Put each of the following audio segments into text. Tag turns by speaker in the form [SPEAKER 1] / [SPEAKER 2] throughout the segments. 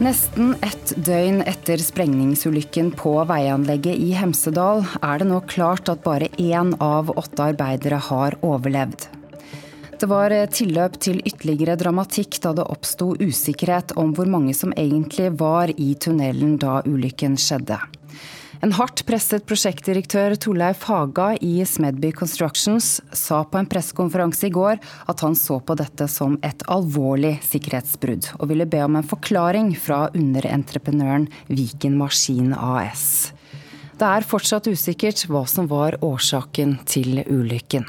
[SPEAKER 1] Nesten ett døgn etter sprengningsulykken på veianlegget i Hemsedal er det nå klart at bare én av åtte arbeidere har overlevd. Det var tilløp til ytterligere dramatikk da det oppsto usikkerhet om hvor mange som egentlig var i tunnelen da ulykken skjedde. En hardt presset prosjektdirektør Torleif Haga i Smedby Constructions sa på en pressekonferanse i går at han så på dette som et alvorlig sikkerhetsbrudd, og ville be om en forklaring fra underentreprenøren Viken Maskin AS. Det er fortsatt usikkert hva som var årsaken til ulykken.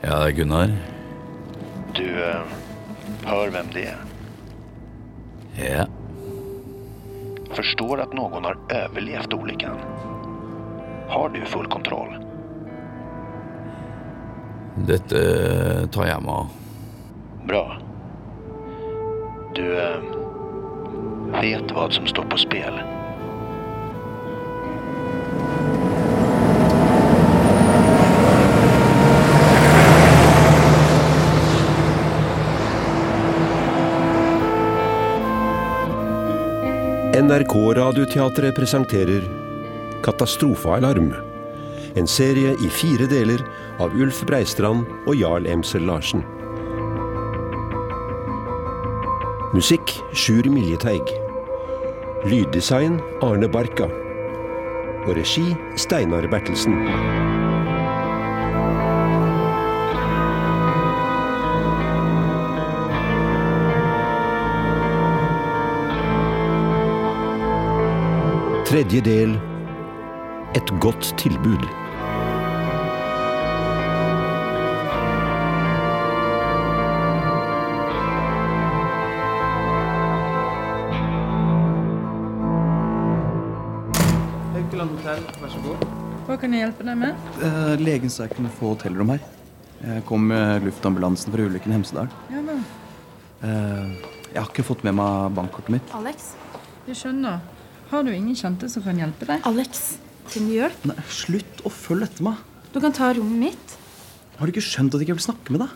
[SPEAKER 2] Ja, Gunnar.
[SPEAKER 3] Du eh, hör vem det är.
[SPEAKER 2] Ja.
[SPEAKER 3] Förstår att någon har överlevt olyckan. Har du full kontroll?
[SPEAKER 2] Dette eh, tar jeg meg av.
[SPEAKER 3] Bra. Du eh, vet vad som står på spel.
[SPEAKER 4] NRK Radioteatret presenterer Katastrofealarm. En serie i fire deler av Ulf Breistrand og Jarl Emsel Larsen. Musikk Sjur Miljeteig. Lyddesign Arne Barka. Og regi Steinar Bertelsen. Tredje del Et godt tilbud.
[SPEAKER 5] Haukeland hotell, vær så god.
[SPEAKER 6] Hva kan jeg hjelpe deg med?
[SPEAKER 5] Eh, legen sa jeg kunne få hotellrom her. Jeg kom med luftambulansen fra ulykken i Hemsedal.
[SPEAKER 6] Ja vel.
[SPEAKER 5] Eh, jeg har ikke fått med meg bankkortet mitt.
[SPEAKER 7] Alex?
[SPEAKER 6] Jeg skjønner. Har du ingen kjente som kan hjelpe deg?
[SPEAKER 7] Alex, trenger du hjelp?
[SPEAKER 5] Nei, slutt å følge etter meg!
[SPEAKER 7] Du kan ta rommet mitt.
[SPEAKER 5] Har du ikke skjønt at jeg ikke vil snakke med deg?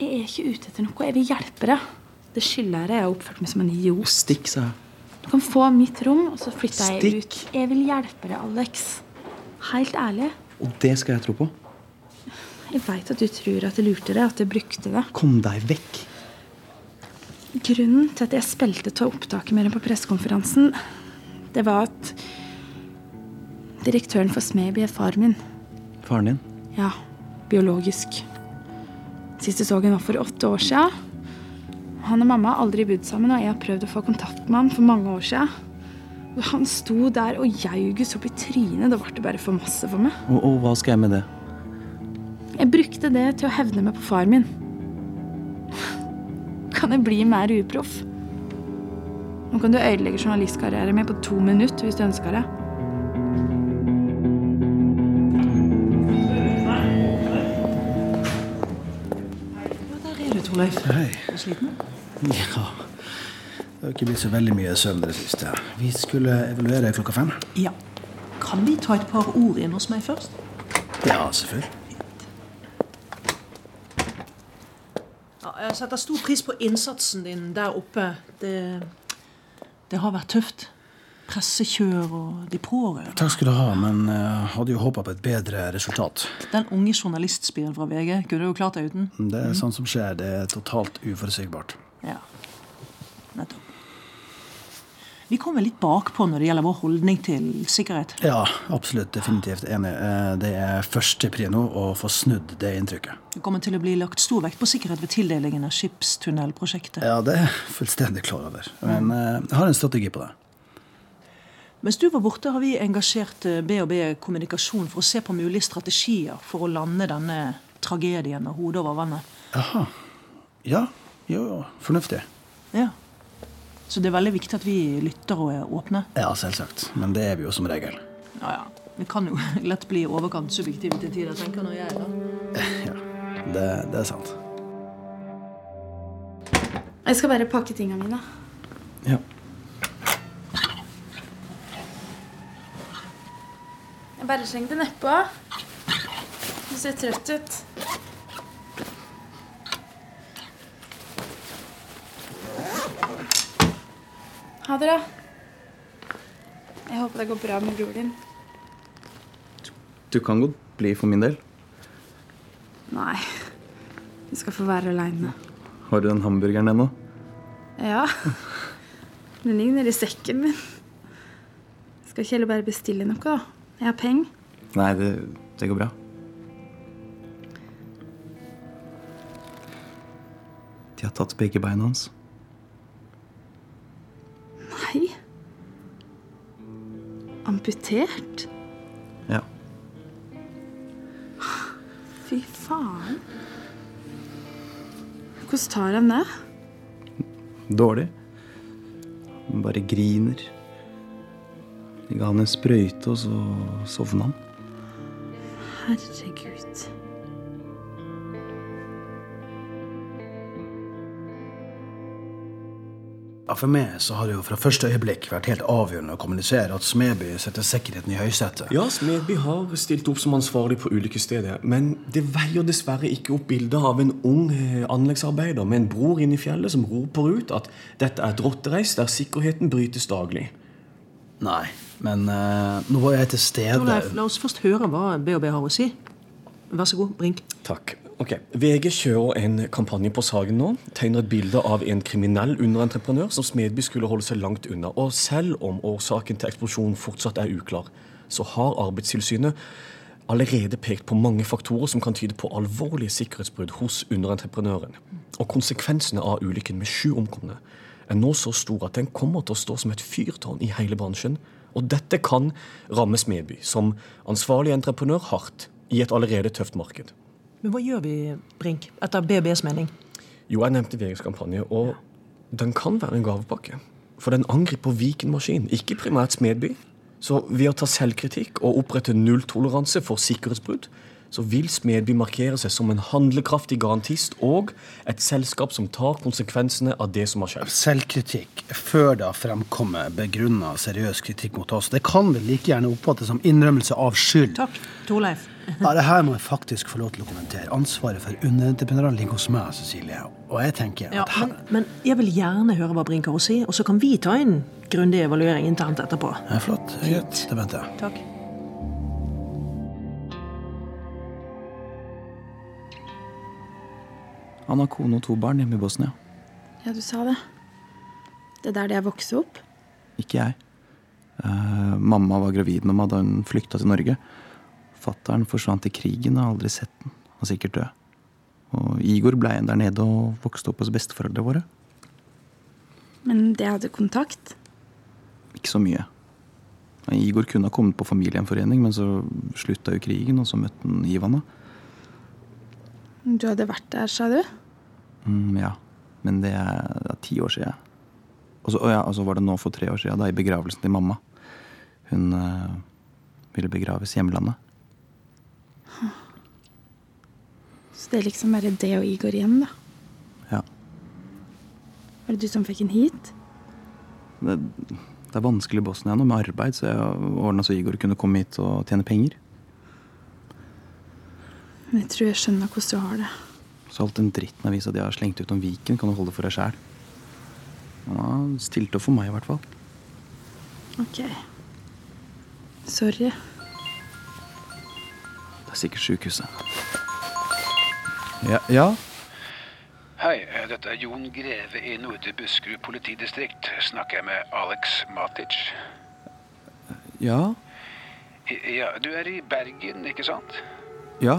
[SPEAKER 7] Jeg er ikke ute etter noe. Jeg vil hjelpe deg. Det skylder jeg deg. Jeg har oppført meg som en idiot.
[SPEAKER 5] Stikk, sa jeg.
[SPEAKER 7] Du kan få mitt rom, og så flytter jeg ut.
[SPEAKER 5] Stikk.
[SPEAKER 7] Jeg vil hjelpe deg, Alex. Helt ærlig.
[SPEAKER 5] Og det skal jeg tro på.
[SPEAKER 7] Jeg veit at du tror at jeg lurte deg, at jeg brukte det.
[SPEAKER 5] Kom deg vekk!
[SPEAKER 7] Grunnen til at jeg spilte av opptaket med dem på pressekonferansen, det var at direktøren for Smeby er far min.
[SPEAKER 5] Faren din?
[SPEAKER 7] Ja, biologisk. Sist jeg så ham var for åtte år siden. Han og mamma har aldri bodd sammen, og jeg har prøvd å få kontakt med han for mange år siden. Og han sto der og jauges opp i trynet. Da ble det bare for masse for meg.
[SPEAKER 5] Og, og hva skal jeg med det?
[SPEAKER 7] Jeg brukte det til å hevne meg på far min. Kan jeg bli mer uproff? Nå kan du ødelegge journalistkarrieren min på to minutter hvis du ønsker det.
[SPEAKER 6] Der er du, Torleif.
[SPEAKER 8] Hei.
[SPEAKER 6] Er du sliten?
[SPEAKER 8] Ja. Det har ikke blitt så veldig mye søvn i det siste. Vi skulle evaluere klokka fem.
[SPEAKER 9] Ja. Kan vi ta et par ord inn hos meg først?
[SPEAKER 8] Ja, selvfølgelig.
[SPEAKER 9] Ja, jeg setter stor pris på innsatsen din der oppe. Det, det har vært tøft. Pressekjør og de pårørende.
[SPEAKER 8] Takk skal du ha, men jeg hadde jo håpa på et bedre resultat.
[SPEAKER 9] Den unge journalistspien fra VG kunne du jo klart deg uten.
[SPEAKER 8] Mm, Det er sånt som skjer. Det er totalt uforutsigbart.
[SPEAKER 9] Ja, nettopp. Vi kommer litt bakpå når det gjelder vår holdning til sikkerhet.
[SPEAKER 8] Ja, absolutt. Definitivt enig. Eh, Det er førstepri nå å få snudd det inntrykket.
[SPEAKER 9] Det kommer til å bli lagt stor vekt på sikkerhet ved tildelingen av skipstunnelprosjektet.
[SPEAKER 8] Ja, det er jeg fullstendig klar over. Men eh, jeg har en strategi på det.
[SPEAKER 9] Mens du var borte, har vi engasjert eh, B&B kommunikasjon for å se på mulige strategier for å lande denne tragedien med hodet over vannet.
[SPEAKER 8] Jaha. Ja. Jo, fornuftig.
[SPEAKER 9] Ja. Så det er veldig viktig at vi lytter og er åpne.
[SPEAKER 8] Ja, selvsagt. Men det er vi jo som regel.
[SPEAKER 9] Ja, ja. Vi kan jo lett bli i overkant subjektive til tider, tenker nå jeg. da.
[SPEAKER 8] Ja, det, det er sant.
[SPEAKER 7] Jeg skal bare pakke tingene mine.
[SPEAKER 5] Ja.
[SPEAKER 7] Jeg bare slenger det nedpå. Du ser trøtt ut. Ha det, da. Jeg håper det går bra med bror din.
[SPEAKER 5] Du kan godt bli for min del.
[SPEAKER 7] Nei. Du skal få være aleine.
[SPEAKER 5] Har du den hamburgeren ennå?
[SPEAKER 7] Ja. Den ligger nedi sekken min. Skal ikke heller bare bestille noe, da? Jeg har penger.
[SPEAKER 5] Nei, det, det går bra. De har tatt begge beina hans.
[SPEAKER 7] Nei. Amputert?
[SPEAKER 5] Ja.
[SPEAKER 7] Fy faen. Hvordan tar han det?
[SPEAKER 5] Dårlig. Han bare griner. De ga han en sprøyte, og så sovna han.
[SPEAKER 7] Herregud.
[SPEAKER 8] Ja, For meg så har det jo fra første øyeblikk vært helt avgjørende å kommunisere at Smeby setter sikkerheten i høysetet.
[SPEAKER 10] Ja, Smedby har stilt opp som ansvarlig på ulykkesstedet. Men det veier dessverre ikke opp bildet av en ung eh, anleggsarbeider med en bror inne i fjellet som roper ut at dette er et rottereis der sikkerheten brytes daglig.
[SPEAKER 8] Nei, men eh, nå var jeg til stede.
[SPEAKER 9] Torleif, la oss først høre hva BHB har å si. Vær så god, Brink.
[SPEAKER 10] Takk. Ok, VG kjører en kampanje på saken nå. Tegner et bilde av en kriminell underentreprenør som Smedby skulle holde seg langt unna. Og selv om årsaken til eksplosjonen fortsatt er uklar, så har Arbeidstilsynet allerede pekt på mange faktorer som kan tyde på alvorlige sikkerhetsbrudd hos underentreprenøren. Og konsekvensene av ulykken med sju omkomne er nå så stor at den kommer til å stå som et fyrtårn i hele bransjen. Og dette kan ramme Smedby som ansvarlig entreprenør hardt i et allerede tøft marked.
[SPEAKER 9] Men hva gjør vi, Brink, etter BBs mening?
[SPEAKER 10] Jo, jeg nevnte VGs kampanje, og den kan være en gavepakke. For den angriper Viken Maskin, ikke primært Smedby. Så ved å ta selvkritikk og opprette nulltoleranse for sikkerhetsbrudd, så vil Smedby markere seg som en handlekraftig garantist og et selskap som tar konsekvensene av det som har skjedd.
[SPEAKER 8] Selvkritikk før det har fremkommet begrunna seriøs kritikk mot oss. Det kan vel like gjerne oppfattes som innrømmelse av skyld.
[SPEAKER 9] Takk, Torleif.
[SPEAKER 8] Ja, det her må jeg faktisk få lov til å kommentere. Ansvaret for underentreprenørene ligger hos meg, Cecilie. Og jeg tenker
[SPEAKER 9] Ja,
[SPEAKER 8] at her
[SPEAKER 9] men, men jeg vil gjerne høre hva Brink har å si, og så kan vi ta en grundig evaluering internt etterpå.
[SPEAKER 8] ja, Flott. Greit. Det mente jeg.
[SPEAKER 9] Takk.
[SPEAKER 5] Han har kone og to barn hjemme i Bosnia.
[SPEAKER 7] Ja, du sa det. Det er der jeg vokste opp.
[SPEAKER 5] Ikke jeg. Eh, mamma var gravid med meg da hun flykta til Norge. Fattern forsvant i krigen og har aldri sett den. Han er sikkert død. Og Igor ble igjen der nede og vokste opp hos besteforeldrene våre.
[SPEAKER 7] Men det hadde kontakt.
[SPEAKER 5] Ikke så mye. Men Igor kunne ha kommet på familiegjenforening, men så slutta jo krigen, og så møtte han Ivana.
[SPEAKER 7] Du hadde vært der, sa du?
[SPEAKER 5] Mm, ja. Men det er, det er ti år siden. Og så, å ja, og så var det nå for tre år siden, da, i begravelsen til mamma. Hun eh, ville begraves i hjemlandet.
[SPEAKER 7] Så det er liksom bare det og Igor igjen, da.
[SPEAKER 5] Ja.
[SPEAKER 7] Var det du som fikk en hit?
[SPEAKER 5] Det, det er vanskelig i Bosnia nå med arbeid, så jeg ordna så Igor kunne komme hit og tjene penger.
[SPEAKER 7] Men jeg tror jeg skjønner hvordan du har det.
[SPEAKER 5] Så alt den dritten avisa de har slengt ut om Viken, kan du holde for deg sjæl. Han har stilt opp for meg, i hvert fall.
[SPEAKER 7] Ok. Sorry.
[SPEAKER 5] Det er sikkert sjukehuset. Ja, ja.
[SPEAKER 3] Hei, eh, dette er Jon Greve i Nordre Buskerud politidistrikt. Snakker jeg med Alex Matic.
[SPEAKER 5] Ja.
[SPEAKER 3] I- Ja, du er i Bergen, ikke sant?
[SPEAKER 5] Ja.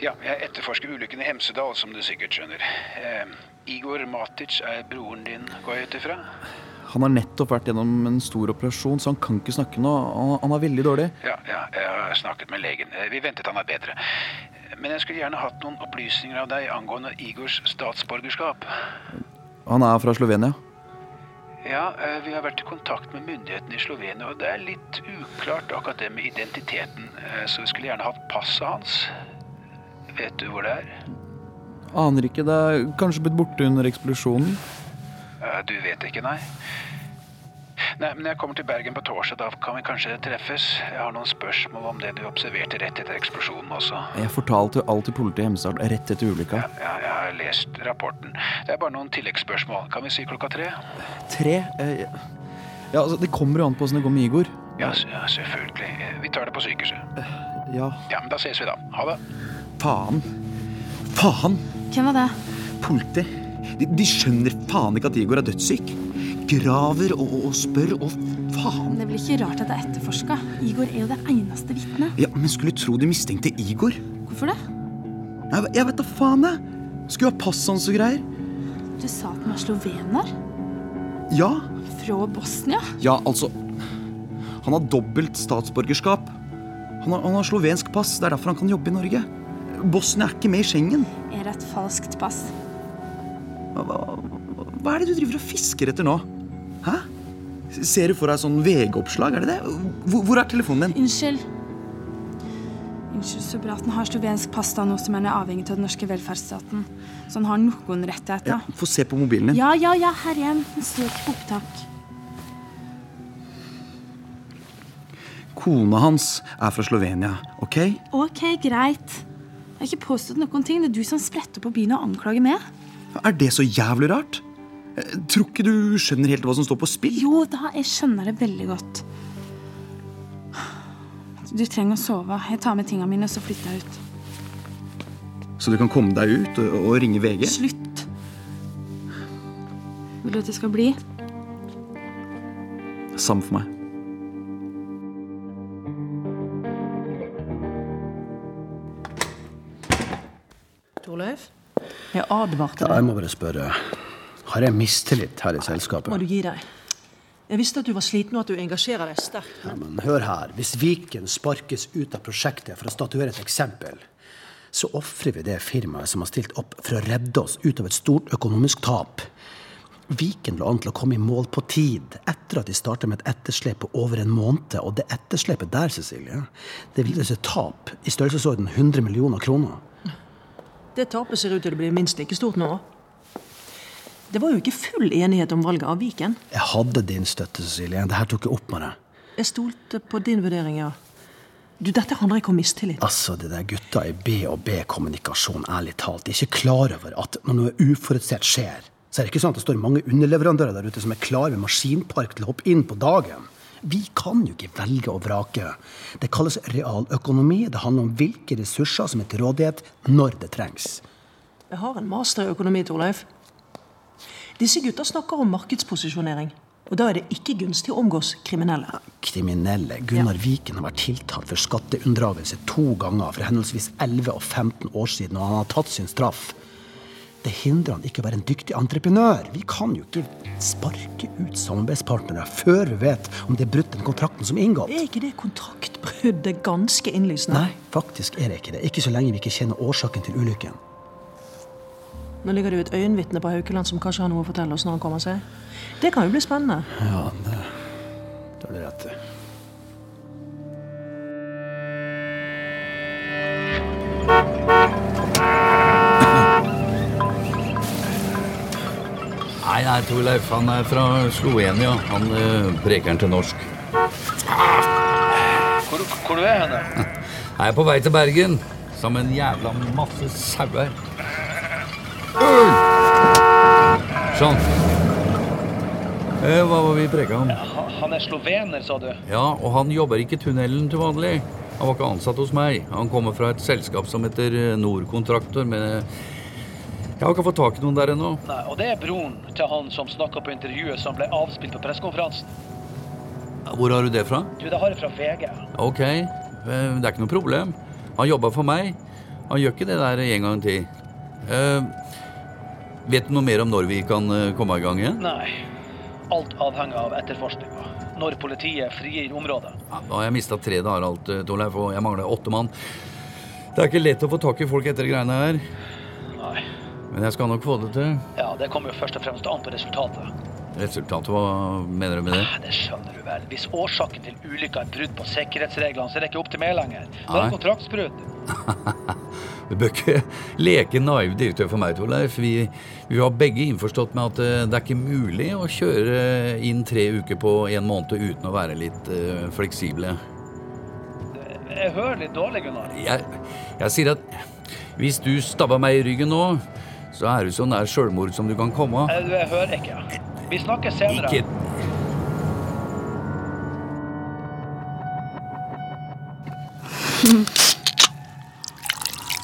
[SPEAKER 3] Ja, jeg etterforsker ulykken i Hemsedal, som du sikkert skjønner. Eh, Igor Matic er broren din, går jeg ut ifra?
[SPEAKER 5] Han har nettopp vært gjennom en stor operasjon, så han kan ikke snakke nå. Han- Han er veldig dårlig.
[SPEAKER 3] Ja, ja, jeg har snakket med legen. Eh, Vi ventet han er bedre. Men jeg skulle gjerne hatt noen opplysninger av deg angående Igors statsborgerskap.
[SPEAKER 5] Han er fra Slovenia.
[SPEAKER 3] Ja, eh, vi har vært i kontakt med myndighetene i Slovenia, og det er litt uklart akkurat det med identiteten, eh, så vi skulle gjerne hatt passet hans. Vet du hvor det er?
[SPEAKER 11] Aner ikke. Det er kanskje blitt borte under eksplosjonen.
[SPEAKER 3] Eh, Du vet ikke, nei? Nei, men jeg kommer til Bergen på torsdag. Da kan vi kanskje treffes. Jeg har noen spørsmål om det du observerte rett etter eksplosjonen også.
[SPEAKER 11] Jeg fortalte jo alt til politiet i Hemsedal rett etter ulykka.
[SPEAKER 3] Ja, jeg har lest rapporten. Det er bare noen tilleggsspørsmål. Kan vi si klokka tre?
[SPEAKER 11] Tre? Eh, Ja, altså, Det kommer jo an på åssen det går med Igor.
[SPEAKER 3] Ja, s- ja, selvfølgelig. Eh, Vi tar det på sykehuset.
[SPEAKER 11] Ja,
[SPEAKER 3] Ja, men da ses vi da. Ha det.
[SPEAKER 5] Faen. Faen!
[SPEAKER 7] Hvem var det?
[SPEAKER 5] Politi. De, de skjønner faen ikke at Igor er dødssyk. Graver og, og spør og faen.
[SPEAKER 7] Det blir ikke rart at det er etterforska. Igor er jo det eneste vitnet.
[SPEAKER 5] Ja, men skulle tro de mistenkte Igor.
[SPEAKER 7] Hvorfor det?
[SPEAKER 5] Nei, jeg vet da faen, jeg. Skulle ha pass hans og greier.
[SPEAKER 7] Du sa at han var slovener?
[SPEAKER 5] Ja.
[SPEAKER 7] Fra Bosnia?
[SPEAKER 5] Ja, altså Han har dobbelt statsborgerskap. Han har, han har slovensk pass. Det er derfor han kan jobbe i Norge. Bosnia er ikke med i Schengen.
[SPEAKER 7] Er det et falskt pass?
[SPEAKER 5] Hva, hva, hva er det du driver og fisker etter nå? Hæ? Ser du for deg sånn VG-oppslag? Er det det? Hvor, hvor er telefonen din?
[SPEAKER 7] Unnskyld. Unnskyld, Subraten har slovensk pass, da, noe som han er avhengig av den norske velferdsstaten. Så han har noen
[SPEAKER 5] Ja,
[SPEAKER 7] rettigheter.
[SPEAKER 5] Eh, Få se på mobilen din.
[SPEAKER 7] Ja, ja, ja, her igjen. Søk på opptak.
[SPEAKER 5] Kona hans er fra Slovenia, OK?
[SPEAKER 7] Ok, greit. Jeg har ikke påstått noen ting. Det er du som spretter på byen og anklager meg.
[SPEAKER 5] Er det så jævlig rart? Eh, Tror ikke du skjønner helt hva som står på spill?
[SPEAKER 7] Jo da, jeg skjønner det veldig godt. Du trenger å sove. Jeg tar med tingene mine, så flytter jeg ut.
[SPEAKER 5] Så du kan komme deg ut og, og ringe VG?
[SPEAKER 7] Slutt. Vil du at jeg skal bli?
[SPEAKER 5] Samme for meg.
[SPEAKER 9] Torleif,
[SPEAKER 12] Jeg advarte
[SPEAKER 8] Ja, jeg må bare spørre. Har jeg mistillit her i selskapet?
[SPEAKER 9] må du gi deg. Jeg visste at du var sliten og at du engasjerer deg sterkt.
[SPEAKER 8] Ja, men hør her. Hvis Viken sparkes ut av prosjektet for å statuere et eksempel, så ofrer vi det firmaet som har stilt opp for å redde oss ut av et stort økonomisk tap. Viken lå an til å komme i mål på tid, etter at de startet med et etterslep på over en måned. Og det etterslepet der, Cecilie, det vil seg tap i størrelsesorden 100 millioner kroner.
[SPEAKER 9] Det tapet ser ut til å bli minst like stort nå. Det var jo ikke full enighet om valget av Viken.
[SPEAKER 8] Jeg hadde din støtte, Cecilie. Det her tok jeg opp med deg.
[SPEAKER 9] Jeg stolte på din vurdering, ja. Du, Dette handler ikke om mistillit.
[SPEAKER 8] Altså, de der gutta i B og B-kommunikasjon, ærlig talt, de er ikke klar over at når noe uforutsett skjer, så er det ikke sånn at det står mange underleverandører der ute som er klar med maskinpark til å hoppe inn på dagen. Vi kan jo ikke velge og vrake. Det kalles realøkonomi. Det handler om hvilke ressurser som er til rådighet når det trengs.
[SPEAKER 9] Jeg har en master i økonomi, Torleif. Disse gutta snakker om markedsposisjonering. Og da er det ikke gunstig å omgås kriminelle.
[SPEAKER 8] Kriminelle. Gunnar Viken har vært tiltalt for skatteunndragelse to ganger for henholdsvis 11 og 15 år siden, og han har tatt sin straff. Det hindrer han ikke å være en dyktig entreprenør. Vi kan jo ikke sparke ut samarbeidspartnere før vi vet om det er brutt den kontrakten som er inngått.
[SPEAKER 9] Er ikke det kontraktbrudd? Det er ganske innlysende.
[SPEAKER 8] Nei, faktisk er det ikke det. Ikke så lenge vi ikke kjenner årsaken til ulykken.
[SPEAKER 9] Nå ligger det jo et øyenvitne på Haukeland som kanskje har noe å fortelle oss når han kommer seg. Det kan jo bli spennende.
[SPEAKER 8] Ja, det, det har du rett i.
[SPEAKER 13] Nei, nei, Torleif, han er fra Slovenia. Han eh, preker den til norsk.
[SPEAKER 3] Hvor, hvor du er henne?
[SPEAKER 13] Jeg er på vei til Bergen, sammen med en jævla masse sauer. Sånn. Eh, hva var vi preka om?
[SPEAKER 14] Han er slovener, sa du?
[SPEAKER 13] Ja, og han jobber ikke i tunnelen til vanlig. Han var ikke ansatt hos meg. Han kommer fra et selskap som heter eh, Nordkontraktor, men eh, jeg har ikke fått tak i noen der ennå.
[SPEAKER 14] Nei, og det er broren til han som snakka på intervjuet som ble avspilt på pressekonferansen.
[SPEAKER 13] Hvor har du det fra?
[SPEAKER 14] Du, det har jeg fra VG.
[SPEAKER 13] Ok, eh, det er ikke noe problem. Han jobber for meg. Han gjør ikke det der en gang til. Eh, vet du noe mer om når vi kan eh, komme i gang igjen?
[SPEAKER 14] Nei. Alt avhenger av etterforskninga. Når politiet frigir området.
[SPEAKER 13] Nå har jeg mista tre dager alt, eh, Torleif, og jeg mangler åtte mann. Det er ikke lett å få tak i folk etter de greiene her.
[SPEAKER 14] Nei.
[SPEAKER 13] Men jeg skal nok få det til.
[SPEAKER 14] Ja, det kommer jo først og fremst an på resultatet.
[SPEAKER 13] Resultatet, hva mener du med det?
[SPEAKER 14] Nei, Det skjønner du vel. Hvis årsaken til ulykka er brudd på sikkerhetsreglene, så er det ikke opp til meg lenger. Da er
[SPEAKER 13] Nei.
[SPEAKER 14] det kontraktsbrudd.
[SPEAKER 13] Du bør ikke leke naiv direktør for meg, Torleif. Vi, vi var begge innforstått med at eh, det er ikke mulig å kjøre inn tre uker på en måned uten å være litt eh, fleksible.
[SPEAKER 3] Jeg hører litt dårlig, Gunnar.
[SPEAKER 13] Jeg, jeg sier at hvis du stabba meg i ryggen nå, så er du så nær sjølmord som du kan komme.
[SPEAKER 3] Eh, du, Jeg hører ikke. Vi snakkes senere.
[SPEAKER 13] Ikke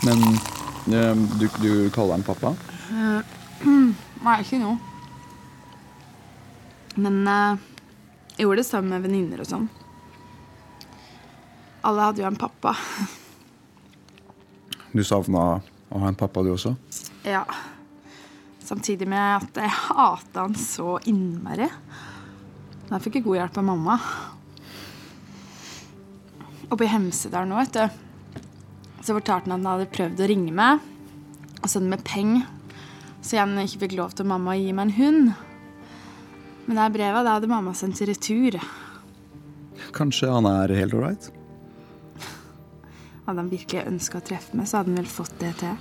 [SPEAKER 5] Men eh, du, du kaller ham pappa?
[SPEAKER 7] Eh, Nei, ikke nå. Men eh, jeg gjorde det sammen med venninner og sånn. Alle hadde jo en pappa.
[SPEAKER 5] Du savna å ha en pappa, du også?
[SPEAKER 7] Ja. Samtidig med at jeg hata han så innmari. Men jeg fikk god hjelp av mamma. Oppe i Hemsedal nå, vet du, så fortalte han at han hadde prøvd å ringe meg og sende meg penger, så jeg ikke fikk lov til mamma å gi meg en hund. Men det brevet det hadde mamma sendt i retur.
[SPEAKER 5] Kanskje han er helt ålreit?
[SPEAKER 7] Hadde han virkelig ønska å treffe meg, så hadde han vel fått det til.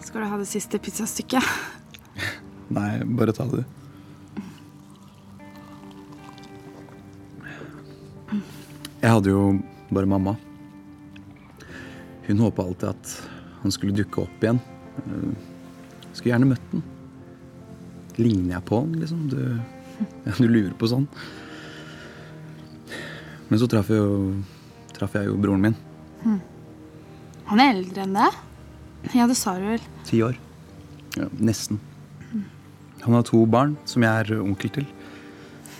[SPEAKER 7] Skal du ha det siste pizzastykket?
[SPEAKER 5] Nei, bare ta det, du. Jeg hadde jo bare mamma. Hun håpa alltid at han skulle dukke opp igjen. Eh, Skulle gjerne møtt den. Ligner jeg på han, liksom? Du, ja, du lurer på sånn. Men så traff jeg jo, traff jeg jo broren min.
[SPEAKER 7] Han er eldre enn det. Ja, det sa du vel.
[SPEAKER 5] Ti år. Ja, nesten. Han har to barn som jeg er onkel til.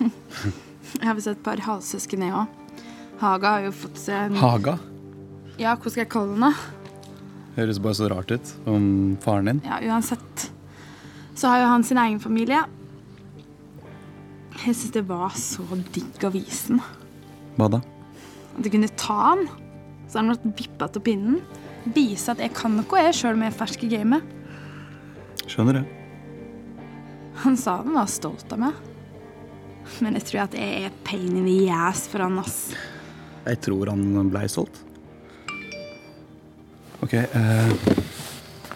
[SPEAKER 7] Jeg har visst et par halvsøsken, jeg òg. Haga har jo fått seg en
[SPEAKER 5] Haga
[SPEAKER 7] Ja, hva skal jeg kalle den, da?
[SPEAKER 5] høres bare så rart ut om faren din.
[SPEAKER 7] Ja, uansett. Så har jo han sin egen familie. Jeg syns det var så digg å vise den.
[SPEAKER 5] Hva da?
[SPEAKER 7] At du kunne ta han. Så har han blitt vippa av pinnen. Vise at jeg kan noe, jeg, sjøl om jeg er fersk i gamet.
[SPEAKER 5] Skjønner det.
[SPEAKER 7] Han sa han var stolt av meg. Men jeg tror at jeg er pain in the ass for han, ass.
[SPEAKER 5] Jeg tror han blei solgt. Ok. eh,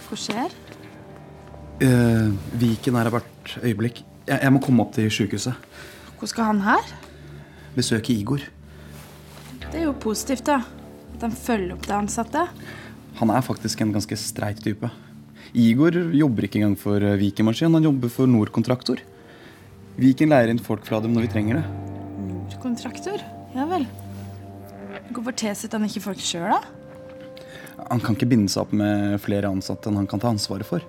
[SPEAKER 7] Hva skjer?
[SPEAKER 5] eh, Viken er her hvert øyeblikk. Jeg, jeg må komme opp til sjukehuset.
[SPEAKER 7] Hvor skal han her?
[SPEAKER 5] Besøke Igor.
[SPEAKER 7] Det er jo positivt, da. At han følger opp det ansatte.
[SPEAKER 5] Han er faktisk en ganske streit type. Igor jobber ikke engang for eh, Viken Maskin, han jobber for Nord Kontraktor. Viken leier inn folk fra dem når vi trenger det.
[SPEAKER 7] Kontraktor? Ja vel. Hvorfor tilsetter han ikke folk sjøl, da?
[SPEAKER 5] Han kan ikke binde seg opp med flere ansatte enn han kan ta ansvaret for.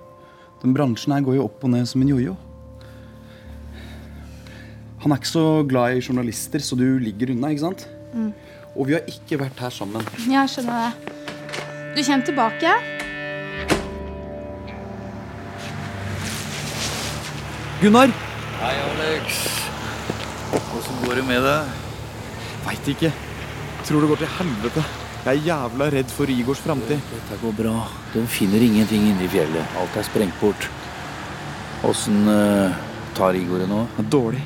[SPEAKER 5] Den bransjen her går jo opp og ned som en jojo. Han er ikke så glad i journalister, så du ligger unna, ikke sant?
[SPEAKER 7] Mm.
[SPEAKER 5] Og vi har ikke vært her sammen.
[SPEAKER 7] Ja, jeg skjønner det. Du kommer tilbake?
[SPEAKER 5] Gunnar!
[SPEAKER 13] Hei, Alex. Åssen går det med deg?
[SPEAKER 15] Veit ikke. Tror det går til helvete. Jeg er jævla redd for Igors framtid.
[SPEAKER 2] Dette går bra. De finner ingenting inne i fjellet. Alt er sprengt bort. Åssen eh, tar Igor det nå?
[SPEAKER 15] Dårlig.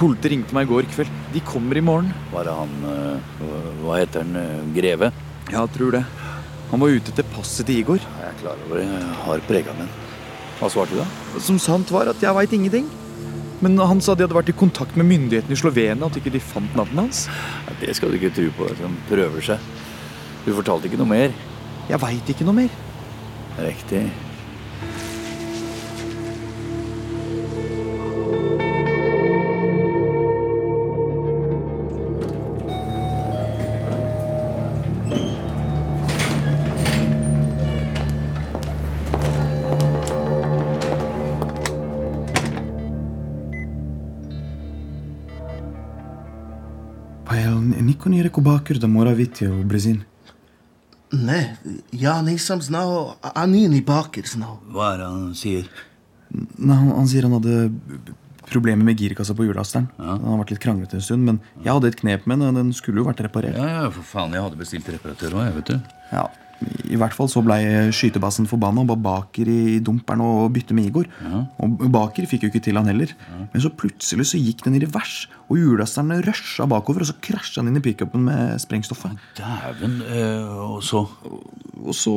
[SPEAKER 15] Politiet ringte meg i går kveld. De kommer i morgen.
[SPEAKER 2] Var det han eh, hva- Hva heter han? eh, Greve?
[SPEAKER 15] Ja, tror det. Han var ute etter passet til Igor.
[SPEAKER 2] Jeg er klar over det. Jeg har prega den. Hva svarte du, da?
[SPEAKER 15] Som sant var at jeg veit ingenting. Men han sa de hadde vært i kontakt med myndighetene i Slovenia, at ikke de fant navnet hans.
[SPEAKER 2] Ja, det skal du ikke tro på. De prøver seg. Du fortalte ikke noe mer?
[SPEAKER 15] Jeg veit ikke noe mer.
[SPEAKER 2] Riktig.
[SPEAKER 5] Pa jel niko nije rekao Bakir da mora biti u blizini?
[SPEAKER 16] Ne, ja nisam znao, a a nije ni Bakir znao.
[SPEAKER 2] Hva er det han sier?
[SPEAKER 5] Nei, han, han sier han hadde problemer eh, med girkassa på hjullasteren. Han har vært litt kranglete en stund, men jeg hadde et knep med den, og den skulle jo vært reparert.
[SPEAKER 13] Ja, ja, for faen, jeg hadde bestilt reparatør òg, jeg, vet du.
[SPEAKER 5] Ja, I hvert fall så blei skytebassen forbanna og ba Baker i dumperen og bytte med Igor. Og Baker fikk jo ikke til han heller. Men så plutselig så gikk den i revers, og hjullasterne rusha bakover, og så krasja han inn i pickupen med sprengstoffet.
[SPEAKER 17] Dæven. eh, og så
[SPEAKER 5] Og så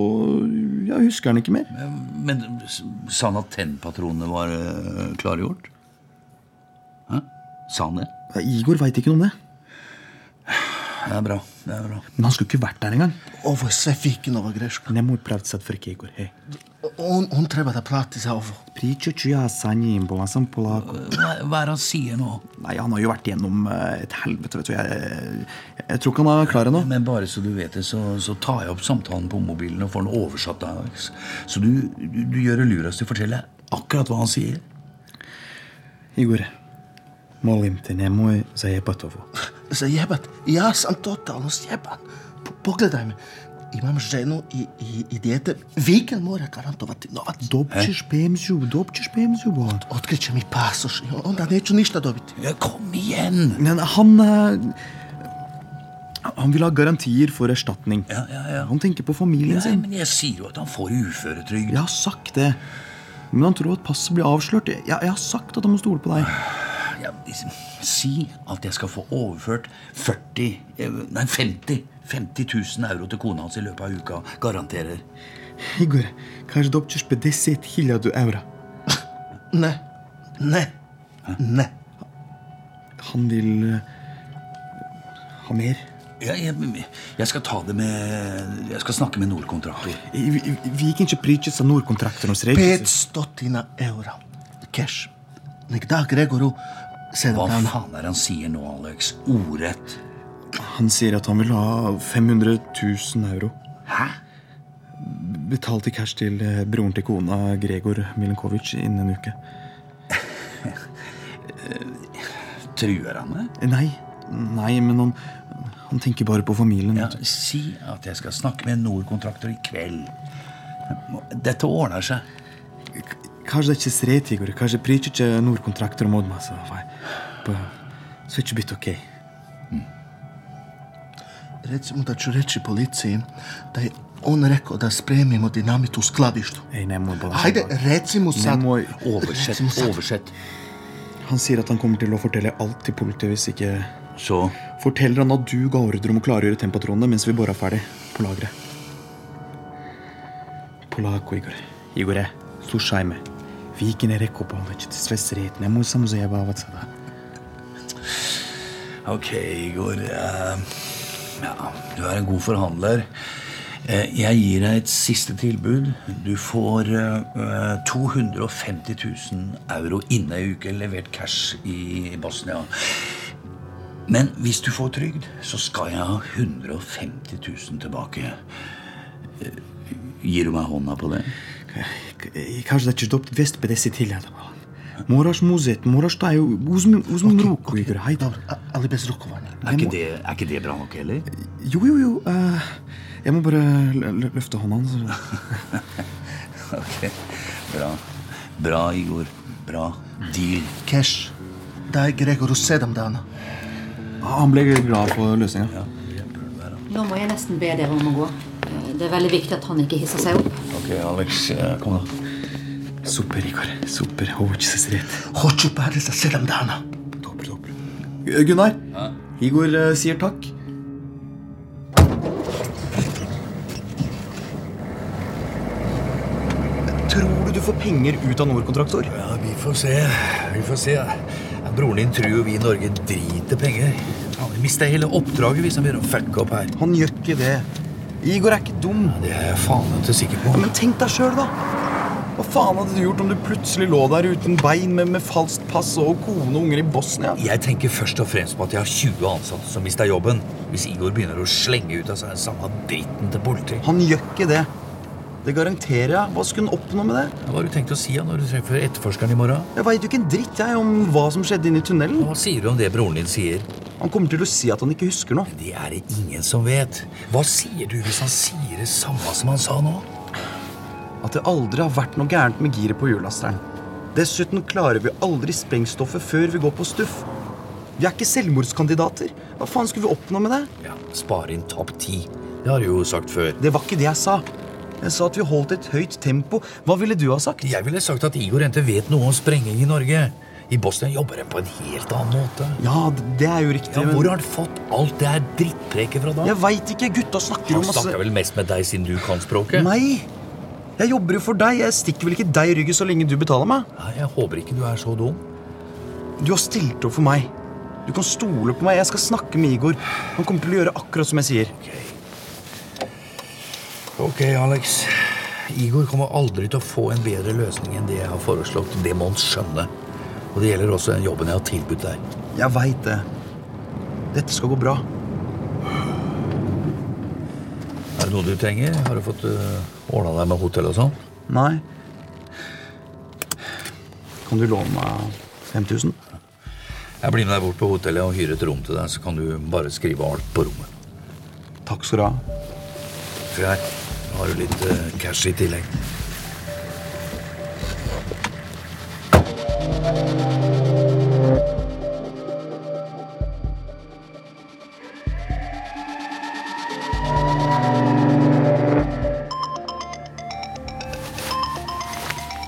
[SPEAKER 5] ja, husker han ikke mer.
[SPEAKER 2] Men s- sa han at tennpatronene var eh, klargjort? Hæ? Sa han det?
[SPEAKER 5] Ja, Igor veit ikke noe om det.
[SPEAKER 2] Det er bra. det er bra.
[SPEAKER 5] Men han skulle ikke vært der engang.
[SPEAKER 18] Ovo sve Vikinovo greška.
[SPEAKER 5] Ne moj pravd sad frke, Igor, hej.
[SPEAKER 18] On, on treba da plati za ovo.
[SPEAKER 5] Pričat ću ja sa njim, bo han sam polako.
[SPEAKER 2] Hva, hva er det han sier nå?
[SPEAKER 5] Nei, han har jo vært gjennom eh, et helvete, vet du. Jeg, jeg tror ikke han er klar ennå.
[SPEAKER 2] Men bare så du vet det, så, så tar jeg opp samtalen på mobilen og får den oversatt av Alex. Så du, du, du gjør det lurest å fortelle akkurat hva han sier.
[SPEAKER 5] Igor, molim te, nemoj zajebat ovo.
[SPEAKER 18] Zajebat. Ja sam totalno sjeban. P- Pogledaj me. Imam ženu i, i, i dijete. Vikend mora garantovati novac.
[SPEAKER 5] Dopćeš pemzju, dopćeš pemzju, bo.
[SPEAKER 18] Otkriće mi pasoš i onda neću ništa dobiti.
[SPEAKER 2] Kom igjen!
[SPEAKER 5] Men han eh, Han vil ha garantier for erstatning. Han tenker på familien
[SPEAKER 2] Nei,
[SPEAKER 5] sin.
[SPEAKER 2] men jeg sier jo at han får uføretrygd.
[SPEAKER 5] Jeg har sagt det. Men han tror at passet blir avslørt. Jeg, jeg har sagt at han må stole på deg.
[SPEAKER 2] Ja, liksom, si at jeg skal få overført 40 eh, Nei, 50 50 000 euro til kona hans i løpet av uka. Garanterer.
[SPEAKER 5] Igor, kanskje dopćeš 50 hiljadu euro.
[SPEAKER 18] Ne. Ne. Ne.
[SPEAKER 5] Han vil eh, ha mer.
[SPEAKER 2] Jeg, jeg, jeg skal ta det med Jeg skal snakke med Nordkontraktor.
[SPEAKER 5] Viken ikke prikker seg nordkontrakter hos
[SPEAKER 18] Pet stotina eura. Cash. Nek da Gregoru sedam
[SPEAKER 2] Hva
[SPEAKER 18] dana.
[SPEAKER 2] faen er det han sier nå, Alex? Ordrett.
[SPEAKER 5] Han sier at han vil ha 500 000 euro.
[SPEAKER 2] Hæ?
[SPEAKER 5] Betalt i cash til eh, broren til kona, Gregor Milenkovic, innen en uke.
[SPEAKER 2] Eh, Truer han meg?
[SPEAKER 5] Eh, Nei, nei, men han, han tenker bare på familien.
[SPEAKER 2] Ja, si at jeg skal snakke med Nordkontraktor i kveld. Dette ordner seg.
[SPEAKER 5] Kanskje det er ikke sret, Igor. Kanskje prikker ikke nordkontrakter om Odma. Så, vai, på, så er ikke bytt ok.
[SPEAKER 18] Recimo da ću reći policiji da je on rekao da spremimo dinamit u skladištu.
[SPEAKER 5] Ej, nemoj, Bola.
[SPEAKER 18] Hajde, reci mu sad.
[SPEAKER 5] Nemoj.
[SPEAKER 18] Reci mu sad.
[SPEAKER 5] Han sier at han kommer til å fortelle alt til politiet hvis ikke
[SPEAKER 2] Så?
[SPEAKER 5] Forteller han at du ga ordre om å klargjøre tempatronene mens vi bora ferdig på lageret. Polako, Igor. Igore, slušaj me. Viken je rekao, Bola, će ti sve sret. Nemoj samo zajebavat sada.
[SPEAKER 2] Ok, Igor. eh, Ja, du er en god forhandler. Eh, Jeg gir deg et siste tilbud. Du får eh, eh, 250 000 euro innen ei uke levert cash i Bosnia. Men hvis du får trygd, så skal jeg ha 150 000 tilbake. Eh, Gir du meg hånda på det?
[SPEAKER 5] I Kaže da ćeš dobiti 250.000. Moraš mu uzeti, moraš taj, uzmi, uzmi mu ruku, Igor, hajde.
[SPEAKER 18] ali bez rukovanja.
[SPEAKER 2] Er ikke det, er ikke det bra nok heller?
[SPEAKER 5] Jo, jo, jo. eh, jeg må bare lø- lø- løfte hånda hans.
[SPEAKER 2] Ok, bra. Bra, Igor. Bra. Deal.
[SPEAKER 18] Cash. Daj Gregoru sedam dana.
[SPEAKER 5] Han ble glad for løsninga.
[SPEAKER 19] Nå må jeg nesten be dere om å gå. Det er veldig viktig at han ikke hisser seg opp.
[SPEAKER 2] Ok, Alex,
[SPEAKER 5] e,
[SPEAKER 2] kom da.
[SPEAKER 5] Super, Igor. Super. Ovo će se sreti.
[SPEAKER 18] Hoću pare za sedam dana.
[SPEAKER 5] Eh, Gunnar, Igor eh, sier takk. Tror du du får penger ut av Nordkontraktor?
[SPEAKER 2] Ja, vi får se. Vi får se. Ja, broren din tror jo vi i Norge driter penger. Faen, Vi mister hele oppdraget hvis han begynner å fucke opp her.
[SPEAKER 5] Han gjør ikke det. Igor er ikke dum.
[SPEAKER 2] Det er jeg faen ikke sikker på.
[SPEAKER 5] Men tenk deg sjøl, da. Hva faen hadde du gjort om du plutselig lå der uten bein med, med falskt pass og kone og unger i Bosnia?
[SPEAKER 2] Jeg tenker først og fremst på at jeg har 20 ansatte som mister jobben. Hvis Igor begynner å slenge ut av seg den samme dritten til politiet.
[SPEAKER 5] Han gjør ikke det. Det garanterer jeg. Hva skulle han oppnå med det?
[SPEAKER 2] Hva har du tenkt å si ja, når du treffer etterforskeren i morgen?
[SPEAKER 5] Jeg veit jo ikke en dritt jeg om hva som skjedde inne i tunnelen.
[SPEAKER 2] Hva sier du om det broren din sier?
[SPEAKER 5] Han kommer til å si at han ikke husker noe.
[SPEAKER 2] Det er det ingen som vet. Hva sier du hvis han sier det samme som han sa nå?
[SPEAKER 5] At det aldri har vært noe gærent med giret på hjullasteren. Dessuten klarer vi aldri sprengstoffet før vi går på stuff. Vi er ikke selvmordskandidater. Hva faen skulle vi oppnå med det?
[SPEAKER 2] Ja, Spare inn tapt tid.
[SPEAKER 20] Det har du jo sagt før.
[SPEAKER 21] Det var ikke det jeg sa. Jeg sa at vi holdt et høyt tempo. Hva ville du ha sagt?
[SPEAKER 20] Jeg ville sagt at Igor Ente vet noe om sprenging i Norge. I Bosnia jobber de på en helt annen måte.
[SPEAKER 21] Ja, det er jo riktig.
[SPEAKER 20] Ja,
[SPEAKER 21] men-
[SPEAKER 20] hvor har han fått alt det her drittpreket fra da?
[SPEAKER 21] Jeg veit ikke. Gutta snakker
[SPEAKER 20] Han
[SPEAKER 21] om masse
[SPEAKER 20] snakker vel mest med deg siden du kan språket?
[SPEAKER 21] Nei! Jeg jobber jo for deg. Jeg stikker vel ikke deg i ryggen så lenge du betaler meg?
[SPEAKER 20] Nei, Jeg håper ikke du er så dum.
[SPEAKER 21] Du har stilt opp for meg. Du kan stole på meg. Jeg skal snakke med Igor. Han kommer til å gjøre akkurat som jeg sier.
[SPEAKER 20] Ok, Alex. Igor kommer aldri til å få en bedre løsning enn det jeg har foreslått. Det må han skjønne. Og det gjelder også den jobben jeg har tilbudt deg.
[SPEAKER 21] Jeg veit det. Dette skal gå bra.
[SPEAKER 20] Er det noe du trenger? Har du fått uh, ordna deg med hotell og sånn?
[SPEAKER 21] Nei. Kan du låne meg 5000?
[SPEAKER 20] Jeg blir med deg bort på hotellet og hyrer et rom til deg, så kan du bare skrive alt på rommet.
[SPEAKER 21] Takk skal du ha.
[SPEAKER 20] For her har du litt eh, cash i tillegg.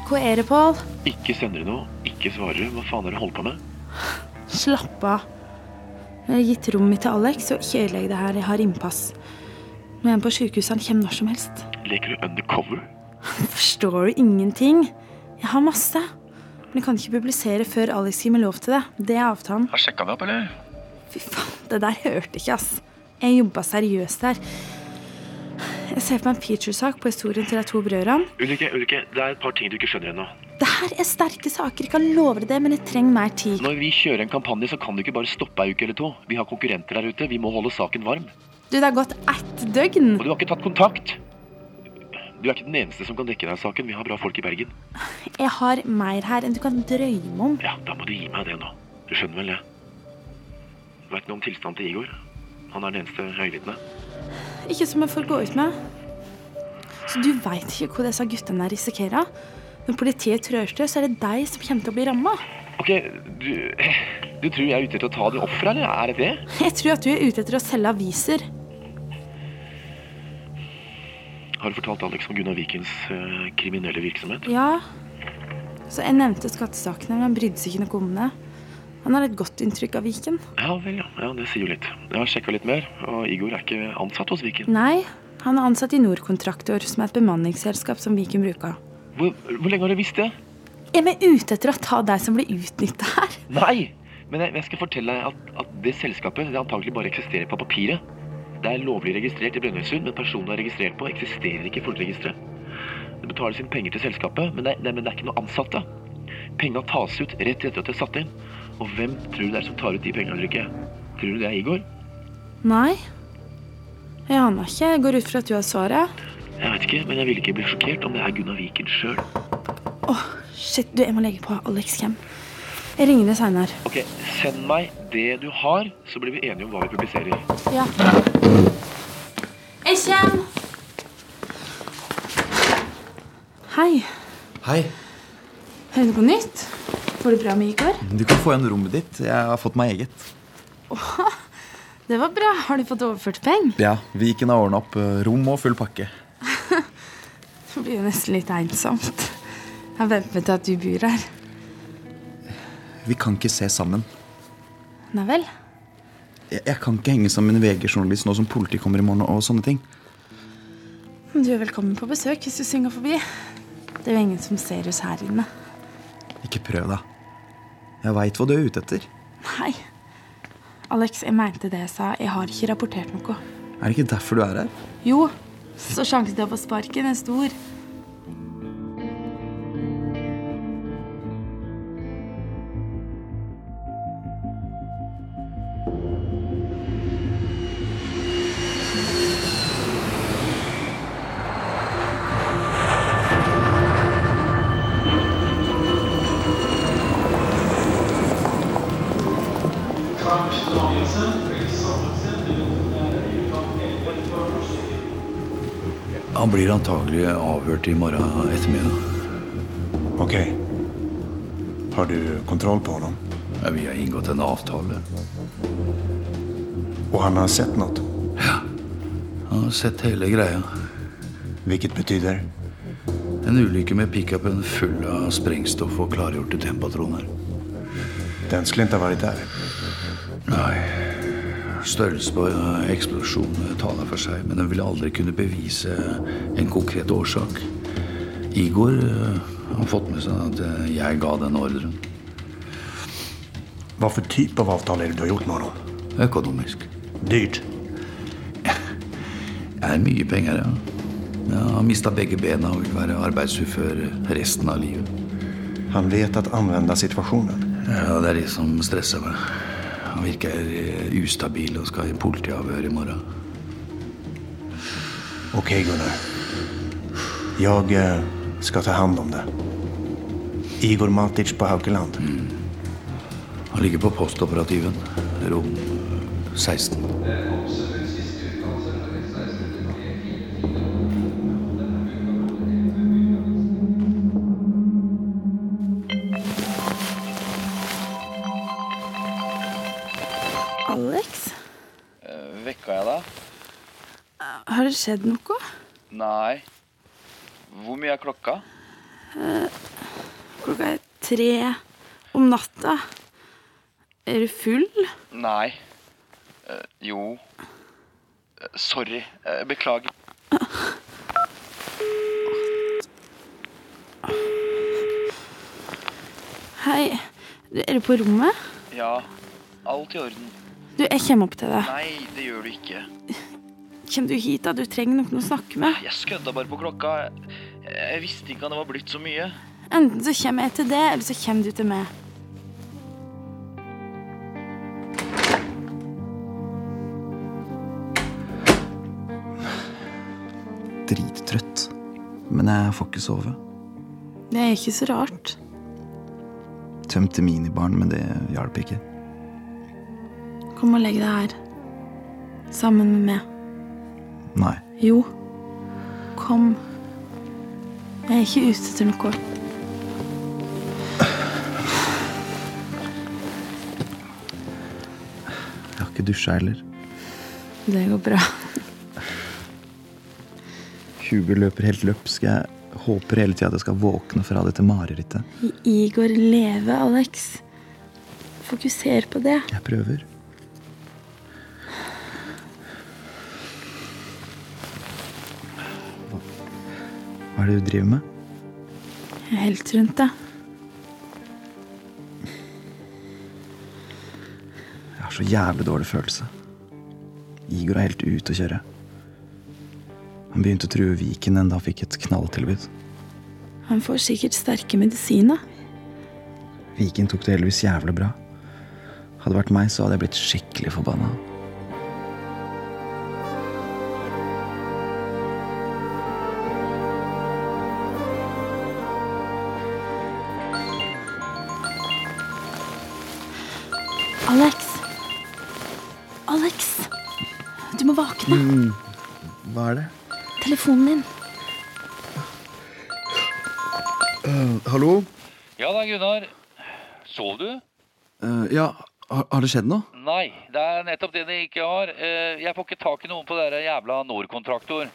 [SPEAKER 7] Hva er det, Pål?
[SPEAKER 22] Ikke sender du noe, ikke svarer du. Hva faen har du holdt på med?
[SPEAKER 7] Slapp av. Jeg har gitt rommet mitt til Alex, og ikke ødelegg det her. Jeg har innpass. Nå er han på sykehuset. Han kommer når som helst.
[SPEAKER 22] Leker du undercover?
[SPEAKER 7] Forstår du ingenting? Jeg har masse. Men jeg kan ikke publisere før Alex gir meg lov til det. Det er avtalen.
[SPEAKER 22] Har sjekka det opp, eller?
[SPEAKER 7] Det der hørte ikke, ass. Jeg jobba seriøst der. Jeg ser for meg en featuresak på historien til de to brødrene.
[SPEAKER 22] Ulrikke, Ulrikke, det er et par ting du ikke skjønner ennå.
[SPEAKER 7] Det her er sterke saker, jeg kan love deg det, men jeg trenger mer tid.
[SPEAKER 22] Når vi kjører en kampanje, så kan du ikke bare stoppe ei uke eller to. Vi har konkurrenter der ute. Vi må holde saken varm.
[SPEAKER 7] Du, det har gått ett døgn.
[SPEAKER 22] Og du har ikke tatt kontakt! Du er ikke den eneste som kan dekke deg saken. Vi har bra folk i Bergen.
[SPEAKER 7] Jeg har mer her enn du kan drømme om.
[SPEAKER 22] Ja, da må du gi meg det nå. Du skjønner vel det? Du veit noe om tilstanden til Igor? Han er den eneste øyevitnet.
[SPEAKER 7] Ikke som jeg får gå ut med. Så du veit ikke hva disse guttene her risikerer. Når politiet trør til, så er det deg som kommer til å bli ramma.
[SPEAKER 22] Ok, du, du tror jeg er ute etter å ta de ofra, eller? Er det det?
[SPEAKER 7] Jeg tror at du er ute etter å selge aviser.
[SPEAKER 22] Har du fortalt Alex om Gunnar Vikens eh, kriminelle virksomhet?
[SPEAKER 7] Ja. Så jeg nevnte skattesakene, men han brydde seg ikke noe om det. Han har et godt inntrykk av Viken.
[SPEAKER 22] Ja vel, ja. ja det sier jo litt. Jeg har sjekka litt mer, og Igor er ikke ansatt hos Viken.
[SPEAKER 7] Nei, han er ansatt i Nordkontraktor, som er et bemanningsselskap som Viken bruker.
[SPEAKER 22] Hvor, hvor lenge har du visst det?
[SPEAKER 7] Er vi ute etter å ta deg som blir utnytta her?
[SPEAKER 22] Nei! Men jeg, jeg skal fortelle deg at, at det selskapet det antagelig bare eksisterer på papiret. Det er lovlig registrert i Brønnøysund, men personen det er registrert på, eksisterer ikke i folkeregisteret. Det betales inn penger til selskapet, men det, er- nei, men det er ikke noen ansatte. Penga tas ut rett etter at det er satt inn. Og hvem tror du det er som tar ut de pengene, Ulrikke? Tror du det er Igor?
[SPEAKER 7] Nei. Jeg aner ikke. Jeg går ut fra at du har svaret.
[SPEAKER 22] Jeg vet ikke, men jeg ville ikke bli sjokkert om det er Gunnar Viken sjøl.
[SPEAKER 7] Shit, du, jeg må legge på. Alex kommer. Jeg ringer deg seinere.
[SPEAKER 22] Ok, send meg det du har, så blir vi enige om hva vi publiserer.
[SPEAKER 7] Ja. Jeg kommer! Hei.
[SPEAKER 5] Hei.
[SPEAKER 7] Hører du på nytt? Får du bra med Igor?
[SPEAKER 5] Du kan få igjen rommet ditt. Jeg har fått meg eget.
[SPEAKER 7] Det var bra. Har du fått overført penger?
[SPEAKER 5] Ja, Viken har ordna opp eh, rom og full pakke.
[SPEAKER 7] Det blir jo nesten litt ensomt. Jeg venter meg til at du bor her.
[SPEAKER 5] Vi kan ikke se sammen.
[SPEAKER 7] Nei vel?
[SPEAKER 5] Jeg, jeg kan ikke henge sammen med en VG-journalist nå som politiet kommer i morgen og sånne ting.
[SPEAKER 7] Men Du er velkommen på besøk hvis du synger forbi. Det er jo ingen som ser oss her inne.
[SPEAKER 5] Ikke prøv, da. Jeg veit hva du er ute etter.
[SPEAKER 7] Nei. Alex, jeg mente det jeg sa. Jeg har ikke rapportert noe.
[SPEAKER 5] Er det ikke derfor du er her?
[SPEAKER 7] Jo, så sjansen til å få sparken er stor.
[SPEAKER 2] Han blir antagelig avhørt i morgen ettermiddag.
[SPEAKER 23] Ok. Har du kontroll på honom?
[SPEAKER 2] Ja, vi har inngått en avtale.
[SPEAKER 23] Og han har sett noe?
[SPEAKER 2] Ja. Han har sett hele greia.
[SPEAKER 23] Hvilket betyr?
[SPEAKER 2] En ulykke med pickupen full av sprengstoff og klargjorte tempatroner.
[SPEAKER 23] Den skulle ikke ha vært der.
[SPEAKER 2] Nei. Størrelsen på eh, eksplosjonen taler for seg, men den ville aldri kunne bevise en konkret årsak. Igor eh, har fått med seg at eh, jeg ga den ordren.
[SPEAKER 23] Hva for type av avtale er det du har gjort med ham?
[SPEAKER 2] Økonomisk.
[SPEAKER 23] Dyrt.
[SPEAKER 2] Det er mye penger, ja. Jeg har mista begge bena og vil være arbeidsufør resten av livet.
[SPEAKER 23] Han vet å anvende situasjonen.
[SPEAKER 2] Ja, Det er de som stresser meg. Han virker eh, ustabil og skal i politiavhør i morgen.
[SPEAKER 23] Ok, Gunnar. Jeg eh, skal ta hand om det. Igor Matic på Haukeland.
[SPEAKER 2] Mm. Han ligger på postoperativen, rom 16.
[SPEAKER 7] Alex,
[SPEAKER 17] Eh, Vekka jeg deg?
[SPEAKER 7] har det skjedd noe?
[SPEAKER 17] Nei. Hvor mye er klokka?
[SPEAKER 7] Eh, Klokka er tre om natta. Er du full?
[SPEAKER 17] Nei. Eh, jo. Eh, Sorry. Eh, Beklager.
[SPEAKER 7] Hei, er du på rommet?
[SPEAKER 17] Ja, alt i orden.
[SPEAKER 7] Du, jeg kommer opp til deg.
[SPEAKER 17] Nei, det gjør du ikke.
[SPEAKER 7] Kommer du hit, da? Du trenger noen å snakke med.
[SPEAKER 17] Jeg skødda bare på klokka. Jeg- Jeg visste ikke at det var blitt så mye.
[SPEAKER 7] Enten så kommer jeg til det, eller så kommer du til meg.
[SPEAKER 5] Drittrøtt. Men jeg får ikke sove.
[SPEAKER 7] Det er ikke så rart.
[SPEAKER 5] Tømte minibaren, men det hjalp ikke.
[SPEAKER 7] Kom og legg deg her. Sammen med meg.
[SPEAKER 5] Nei.
[SPEAKER 7] Jo. Kom. Jeg er ikke ute etter noe.
[SPEAKER 5] Jeg har ikke dusja heller.
[SPEAKER 7] Det går bra.
[SPEAKER 5] Hugo løper helt løpsk. Jeg håper hele tida at jeg skal våkne fra dette marerittet.
[SPEAKER 7] Igor leve, Alex. Fokuser på det.
[SPEAKER 5] Jeg prøver. Hva- Hva er det du driver med?
[SPEAKER 7] Jeg er helt rundt deg.
[SPEAKER 5] Jeg har så jævlig dårlig følelse. Igor er helt ute å kjøre. Han begynte å true Viken enda han fikk et knalltilbud.
[SPEAKER 7] Han får sikkert sterke medisiner.
[SPEAKER 5] Viken tok det heldigvis jævlig bra. Hadde det vært meg, så hadde jeg blitt skikkelig forbanna.
[SPEAKER 7] Alex! Alex! Du må våkne.
[SPEAKER 20] Mm. Hva er det?
[SPEAKER 7] Telefonen din.
[SPEAKER 5] Eh, hallo?
[SPEAKER 13] Ja da, Gunnar. Sov du?
[SPEAKER 5] Eh, ja, har, har det skjedd noe?
[SPEAKER 13] Nei, det er nettopp det de ikke har. Eh, Jeg får ikke tak i noen på dere jævla Nord-kontraktor.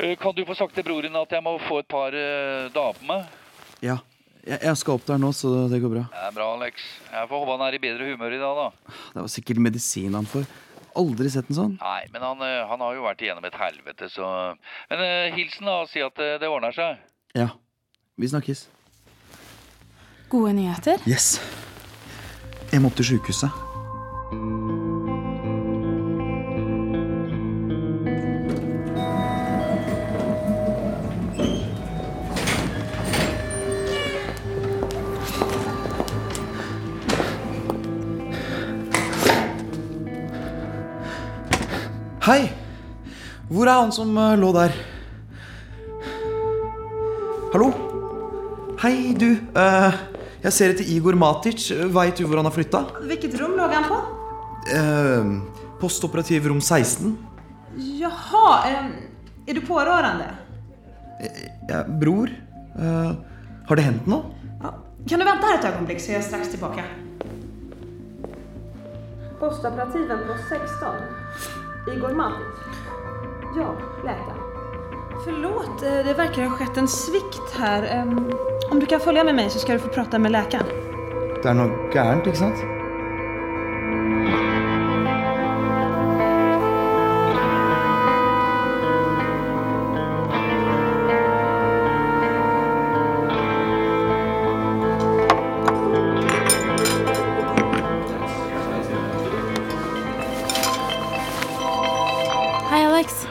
[SPEAKER 13] Eh, Kan du få sagt til broren at jeg må få et par eh, damer?
[SPEAKER 5] Ja. Jeg, jeg skal opp der nå, så det går bra.
[SPEAKER 13] Det er bra, Alex. Jeg får håpe han er i bedre humør i dag, da.
[SPEAKER 5] Det var sikkert medisin han får. Aldri sett en sånn.
[SPEAKER 13] Nei, men han, eh, han har jo vært igjennom et helvete, så Men eh, hilsen, da, og si at eh, det ordner seg.
[SPEAKER 5] Ja. Vi snakkes.
[SPEAKER 7] Gode nyheter.
[SPEAKER 5] Yes. Jeg må opp til sjukehuset.
[SPEAKER 21] Hei! Hvor er han som eh, lå der? Hallo? Hei, du. Eh, jeg ser etter Igor Matic. Veit du hvor han har flytta?
[SPEAKER 6] Hvilket rom lå han på?
[SPEAKER 5] Ehm,
[SPEAKER 21] postoperativ rom 16.
[SPEAKER 6] Jaha, eh, er du pårørende?
[SPEAKER 21] Ja, bror, eh, har det hendt noe?
[SPEAKER 6] Kan du vente her et øyeblikk, så er jeg straks tilbake? Postoperativen på 16. Igor Matic.
[SPEAKER 24] Ja, läkaren. Förlåt, eh, det verkar ha skett en svikt här. Ehm, Om du kan följa med mig så ska du få prata med läkaren.
[SPEAKER 5] Det er noe gærent, ikke sant?
[SPEAKER 7] Hei, Alex.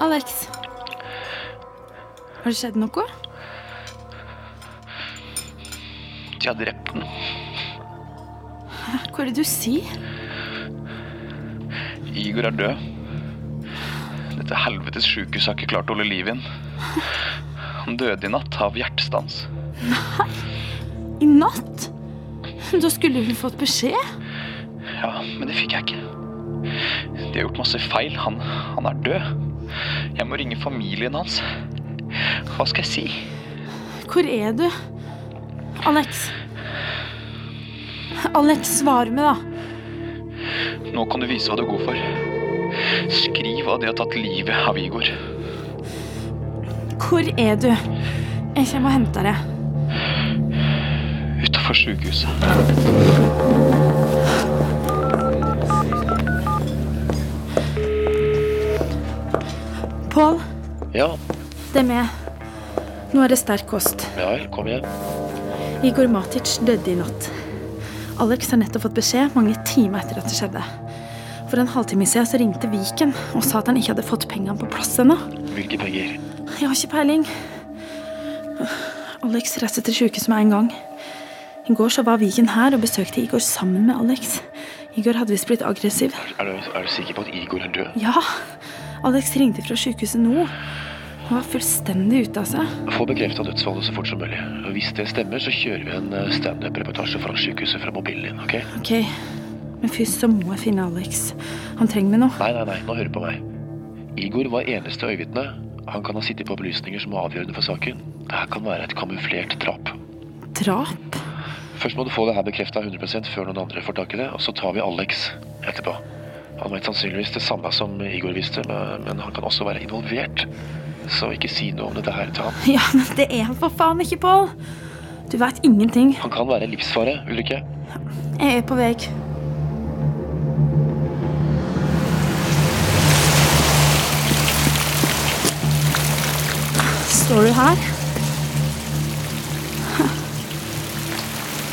[SPEAKER 7] Alex. Har det skjedd noe?
[SPEAKER 22] De har drept den.
[SPEAKER 7] Hæ, Hva er det du sier?
[SPEAKER 22] Igor er død. Dette helvetes sjukehuset har ikke klart å holde liv i han. Han døde i natt av hjertestans.
[SPEAKER 7] Nei! I natt? Da skulle hun fått beskjed.
[SPEAKER 22] Ja, men det fikk jeg ikke. De har gjort masse feil. Han, han er død. Jeg må ringe familien hans. Hva skal jeg si?
[SPEAKER 7] Hvor er du? Alex. Alex, svar meg, da.
[SPEAKER 22] Nå kan du vise hva du er god for. Skriv hva de har tatt livet av Igor.
[SPEAKER 7] Hvor er du? Jeg kommer og henter deg.
[SPEAKER 22] Utafor sjukehuset.
[SPEAKER 7] Pål,
[SPEAKER 22] Ja,
[SPEAKER 7] det er meg. Nå er det sterk kost.
[SPEAKER 22] ja vel. Kom igjen.
[SPEAKER 7] Igor Matic døde i natt. Alex har nettopp fått beskjed mange timer etter at det skjedde. For en halvtime siden så ringte Viken og sa at han ikke hadde fått pengene på plass ennå.
[SPEAKER 22] Hvilke penger?
[SPEAKER 7] Jeg har ikke peiling. Alex reiste til sykehuset med en gang. I går så var Viken her og besøkte Igor sammen med Alex. Igor hadde visst blitt aggressiv.
[SPEAKER 22] Er du, er du sikker på at Igor er død?
[SPEAKER 7] Ja, Alex ringte fra sykehuset nå. Han var fullstendig ute av seg.
[SPEAKER 22] Få bekrefta dødsfallet så fort som mulig. Og Hvis det stemmer, så kjører vi en eh, standup-reportasje fra sykehuset fra mobilen din. ok?
[SPEAKER 7] Ok, men først så må jeg finne Alex. Han trenger meg nå.
[SPEAKER 22] Nei, nei, nei, nå hører du på meg. Igor var eneste øyevitne. Han kan ha sittet på opplysninger som er avgjørende for saken. Dette kan være et kamuflert drap.
[SPEAKER 7] Drap?
[SPEAKER 22] Først må du få det her bekrefta 100 før noen andre får tak i det, og så tar vi Alex etterpå. Han vet sannsynligvis det samme som Igor visste, men men han kan også være involvert. Så ikke si noe om dette her til ham.
[SPEAKER 7] Ja, men det er han for faen ikke, Pål. Du vet ingenting.
[SPEAKER 22] Han kan være en livsfare, Ulrikke.
[SPEAKER 7] Jeg er på vei. Står du her?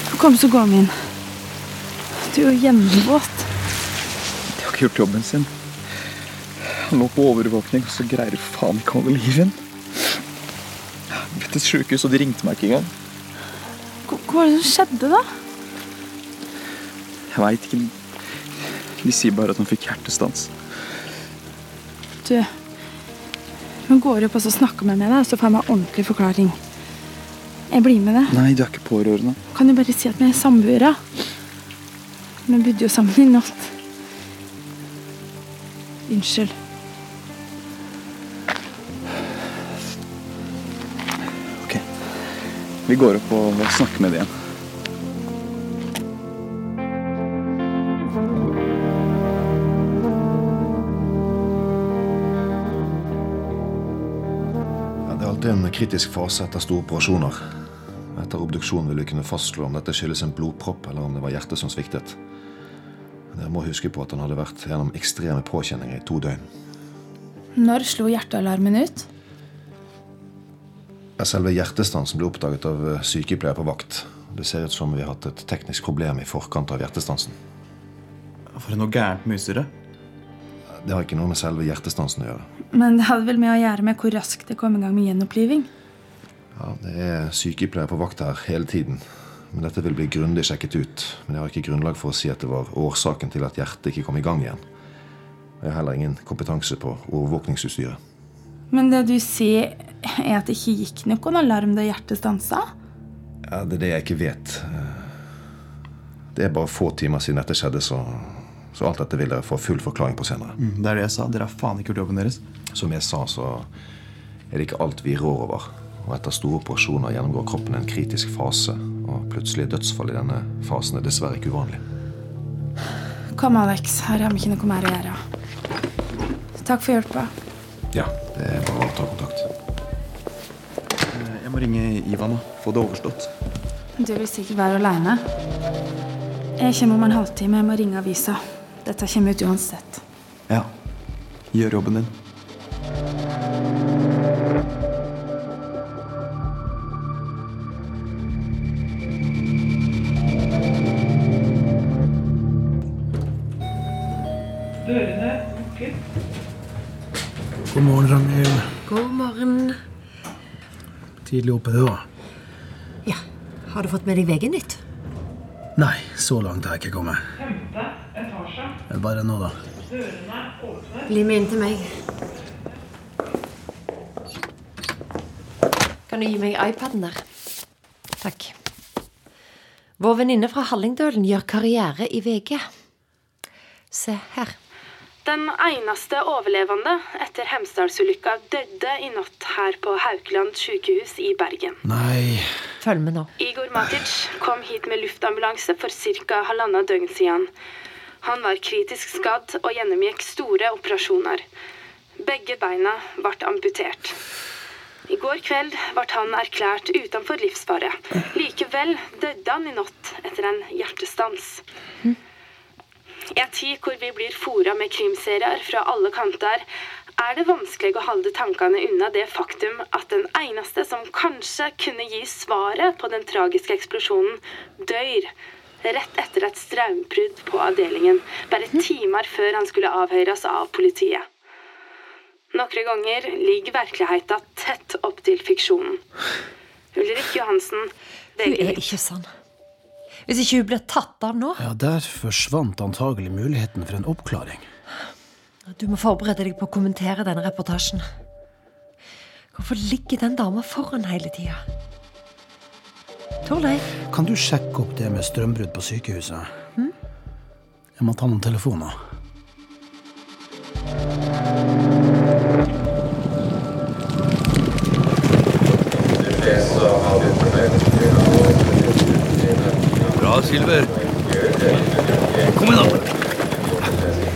[SPEAKER 7] Kom, så går vi inn. Du er jo gjennomvåt.
[SPEAKER 25] De har ikke gjort jobben sin. Han lå på overvåkning, og så greier de faen ikke å holde liv i den. Dette sykehus, og de ringte meg ikke engang.
[SPEAKER 7] Hva hva var det som skjedde, da?
[SPEAKER 25] Jeg veit ikke. De sier bare at han fikk hjertestans.
[SPEAKER 7] Du, nå går jeg opp og så snakker jeg med deg, så får jeg meg ordentlig forklaring. Jeg blir med deg.
[SPEAKER 25] Nei, du er ikke pårørende.
[SPEAKER 7] Kan du bare si at vi er samboere? Vi bodde jo sammen i natt. Unnskyld.
[SPEAKER 25] Vi går opp og snakker med dem igjen.
[SPEAKER 14] Ja, Det er alltid en kritisk fase etter store operasjoner. Etter obduksjon vil vi kunne fastslå om dette skyldes en blodpropp eller om det var hjertet som sviktet. Dere må huske på at han hadde vært gjennom ekstreme påkjenninger i to døgn.
[SPEAKER 7] Når slo hjertealarmen ut?
[SPEAKER 14] Selve hjertestansen ble oppdaget av eh, sykepleier på vakt. Det ser ut som vi har hatt et teknisk problem i forkant av hjertestansen.
[SPEAKER 5] Var det noe gærent med utstyret?
[SPEAKER 14] Det har ikke noe med selve hjertestansen å gjøre.
[SPEAKER 7] Men det hadde vel med å gjøre med hvor raskt det kom i gang med gjenoppliving.
[SPEAKER 14] Ja, Det er sykepleier på vakt her hele tiden. Men Dette vil bli grundig sjekket ut. Men jeg har ikke grunnlag for å si at det var årsaken til at hjertet ikke kom i gang igjen. Jeg har heller ingen kompetanse på overvåkningsutstyret.
[SPEAKER 7] Men det du sier, er at det ikke gikk noen alarm da hjertet stansa?
[SPEAKER 14] Ja, det er det jeg ikke vet. Det er bare få timer siden dette skjedde, så, så alt dette vil dere få full forklaring på senere.
[SPEAKER 5] Mm, det er det jeg sa. Dere har faen ikke gjort jobben deres.
[SPEAKER 14] Som jeg sa, så er det ikke alt vi rår over. Og etter store operasjoner gjennomgår kroppen en kritisk fase. Og plutselig er dødsfall i denne fasen er dessverre ikke uvanlig.
[SPEAKER 26] Kom, Alex. Her har vi ikke noe mer å gjøre. Takk for hjelpa.
[SPEAKER 27] Ja, det er bare å ta kontakt.
[SPEAKER 28] Jeg må ringe Ivan og få det overstått.
[SPEAKER 26] Du vil sikkert være aleine. Jeg kommer om en halvtime. Jeg må ringe avisa. Dette kommer ut uansett.
[SPEAKER 29] Ja. Gjør jobben din.
[SPEAKER 19] Dørene lukket.
[SPEAKER 8] God morgen, Ragnhild.
[SPEAKER 19] God morgen.
[SPEAKER 8] Tidlig oppe, du, da.
[SPEAKER 19] Har du fått med deg VG-nytt?
[SPEAKER 8] Nei, så langt har jeg ikke kommet.
[SPEAKER 19] Femte etasje.
[SPEAKER 8] Men Bare nå, da.
[SPEAKER 19] Dørene åpnes. Bli med inn til meg. Kan du gi meg iPaden der? Takk. Vår venninne fra Hallingdølen gjør karriere i VG. Se her.
[SPEAKER 7] Den eneste overlevende etter Hemsedalsulykka døde i natt her på Haukeland sykehus i Bergen.
[SPEAKER 8] Nei
[SPEAKER 19] Følg med nå.
[SPEAKER 7] Igor Matic kom hit med luftambulanse for ca. halvannet døgn siden. Han var kritisk skadd og gjennomgikk store operasjoner. Begge beina ble amputert. I går kveld ble han erklært utenfor livsfare. Likevel døde han i natt etter en hjertestans. I en tid hvor vi blir fora med krimserier fra alle kanter, er det vanskelig å holde tankene unna det faktum at den eneste som kanskje kunne gi svaret på den tragiske eksplosjonen, dør rett etter et strømbrudd på avdelingen, bare
[SPEAKER 26] Mhm.
[SPEAKER 7] timer før han skulle avhøres av politiet. Noen ganger ligger virkeligheten tett opp til fiksjonen. Ulrik Johansen,
[SPEAKER 19] Hun er ikke sann. Hvis ikke hun blir tatt av nå
[SPEAKER 8] Ja, Der forsvant antagelig muligheten for en oppklaring.
[SPEAKER 19] Du må forberede deg på å kommentere denne reportasjen. Hvorfor ligger den dama foran hele tida? Torleif,
[SPEAKER 8] Kan du sjekke opp det med strømbrudd på sykehuset?
[SPEAKER 5] Hm?
[SPEAKER 8] Jeg må ta noen telefoner.
[SPEAKER 13] Bra, Silver. Kom igjen, da.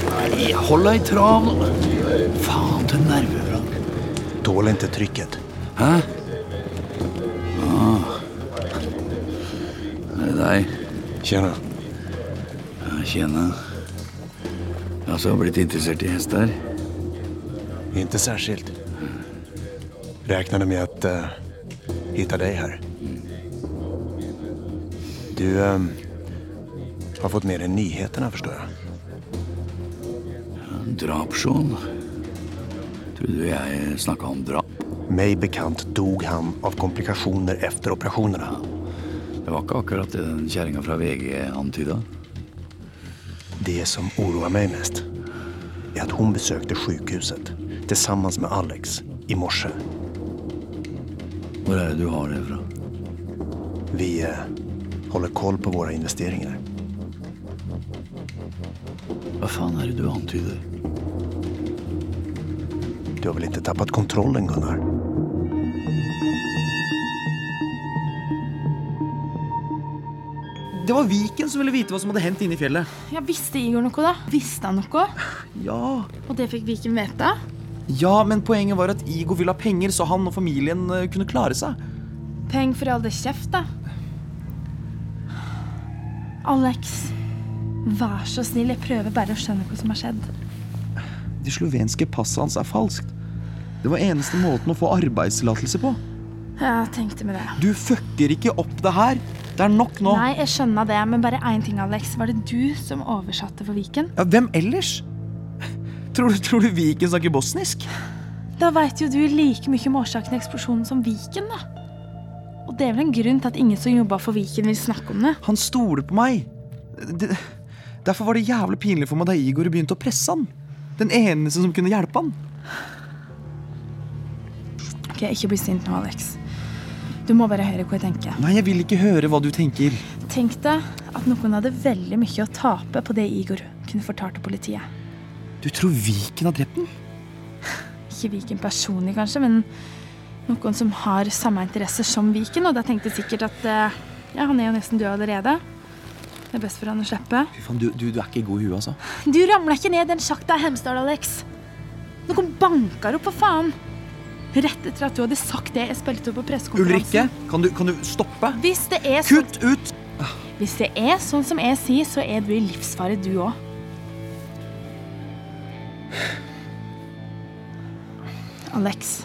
[SPEAKER 13] Nei, Hold deg i trav nå. Faen til nervevrak.
[SPEAKER 2] Tål inte trycket.
[SPEAKER 13] Hæ? Ah. Er det deg?
[SPEAKER 2] Tjena.
[SPEAKER 13] Ja, tjena. Jeg har blitt interessert i hester.
[SPEAKER 2] Inte särskilt. Räknade med att eh, hitta dig här. Du eh, har fått med dig nyheterna förstår jag.
[SPEAKER 13] Drapsjon. Tror du jeg snakka om drap?
[SPEAKER 2] Mig bekant dog han av komplikationer efter operationerna.
[SPEAKER 13] Det var ikke akkurat det den kjerringa fra VG antyda.
[SPEAKER 2] Det som oroar mig mest är att hon besökte sjukhuset tillsammans med Alex i morse.
[SPEAKER 13] Hvor er det du har det fra?
[SPEAKER 2] Vi eh, håller koll på våra investeringar.
[SPEAKER 13] Hva faen er det du antyder?
[SPEAKER 2] Du har väl inte tappat kontrollen, Gunnar?
[SPEAKER 5] Det var Viken som ville vite hva som hadde hendt inne i fjellet.
[SPEAKER 26] Ja, Visste Igor noe, da? Visste han noe?
[SPEAKER 5] Ja,
[SPEAKER 26] Og det fikk Viken vite?
[SPEAKER 5] ja men poenget var at Igo ville ha penger, så han og familien eh, kunne klare seg.
[SPEAKER 26] Peng for all det kjeft, da. Alex, vær så snill. Jeg prøver bare å skjønne hva som har skjedd.
[SPEAKER 5] Det slovenske passet hans er falskt. Det var eneste måten å få arbeidstillatelse på.
[SPEAKER 26] Ja, tenkte med det.
[SPEAKER 5] Du fucker ikke opp det her. Det er nok nå.
[SPEAKER 26] Nei, jeg skjønner det, men bare én ting, Alex. Var det du som oversatte for Viken?
[SPEAKER 5] Ja, hvem ellers? Tror du, tror du Viken snakker bosnisk?
[SPEAKER 26] Da veit jo du like mye om årsaken til eksplosjonen som Viken, da. Og det er vel en grunn til at ingen som jobba for Viken, vil snakke om det.
[SPEAKER 5] Han stoler på meg. Det, derfor var det jævlig pinlig for meg da Igor begynte å presse han. Den eneste som kunne hjelpe han.
[SPEAKER 26] Ok, Ikke bli sint nå, Alex. Du må bare høre hva jeg tenker.
[SPEAKER 5] Nei, jeg vil ikke høre hva du tenker.
[SPEAKER 26] Tenk deg at noen hadde veldig mye å tape på det Igor kunne fortalt til politiet.
[SPEAKER 5] Du tror Viken har drept den?
[SPEAKER 26] Ikke Viken personlig, kanskje, men noen som har samme interesser som Viken. Og da tenkte jeg sikkert at eh, ja, han er jo nesten død allerede.
[SPEAKER 7] Det er best for han å slippe.
[SPEAKER 5] Fy faen, du, du, du er ikke god i huet, altså.
[SPEAKER 7] Du ramla ikke ned den sjakta i Hemsedal, Alex. Noen banker opp, for faen. Rett etter at du hadde sagt det jeg spilte opp på
[SPEAKER 5] Ulrikke,
[SPEAKER 7] pressekonferansen.
[SPEAKER 5] kan du, kan du stoppe?
[SPEAKER 7] Hvis det er sånn
[SPEAKER 5] Kutt ut!
[SPEAKER 7] Hvis det er sånn som jeg sier, så er du i livsfare, du òg. Alex.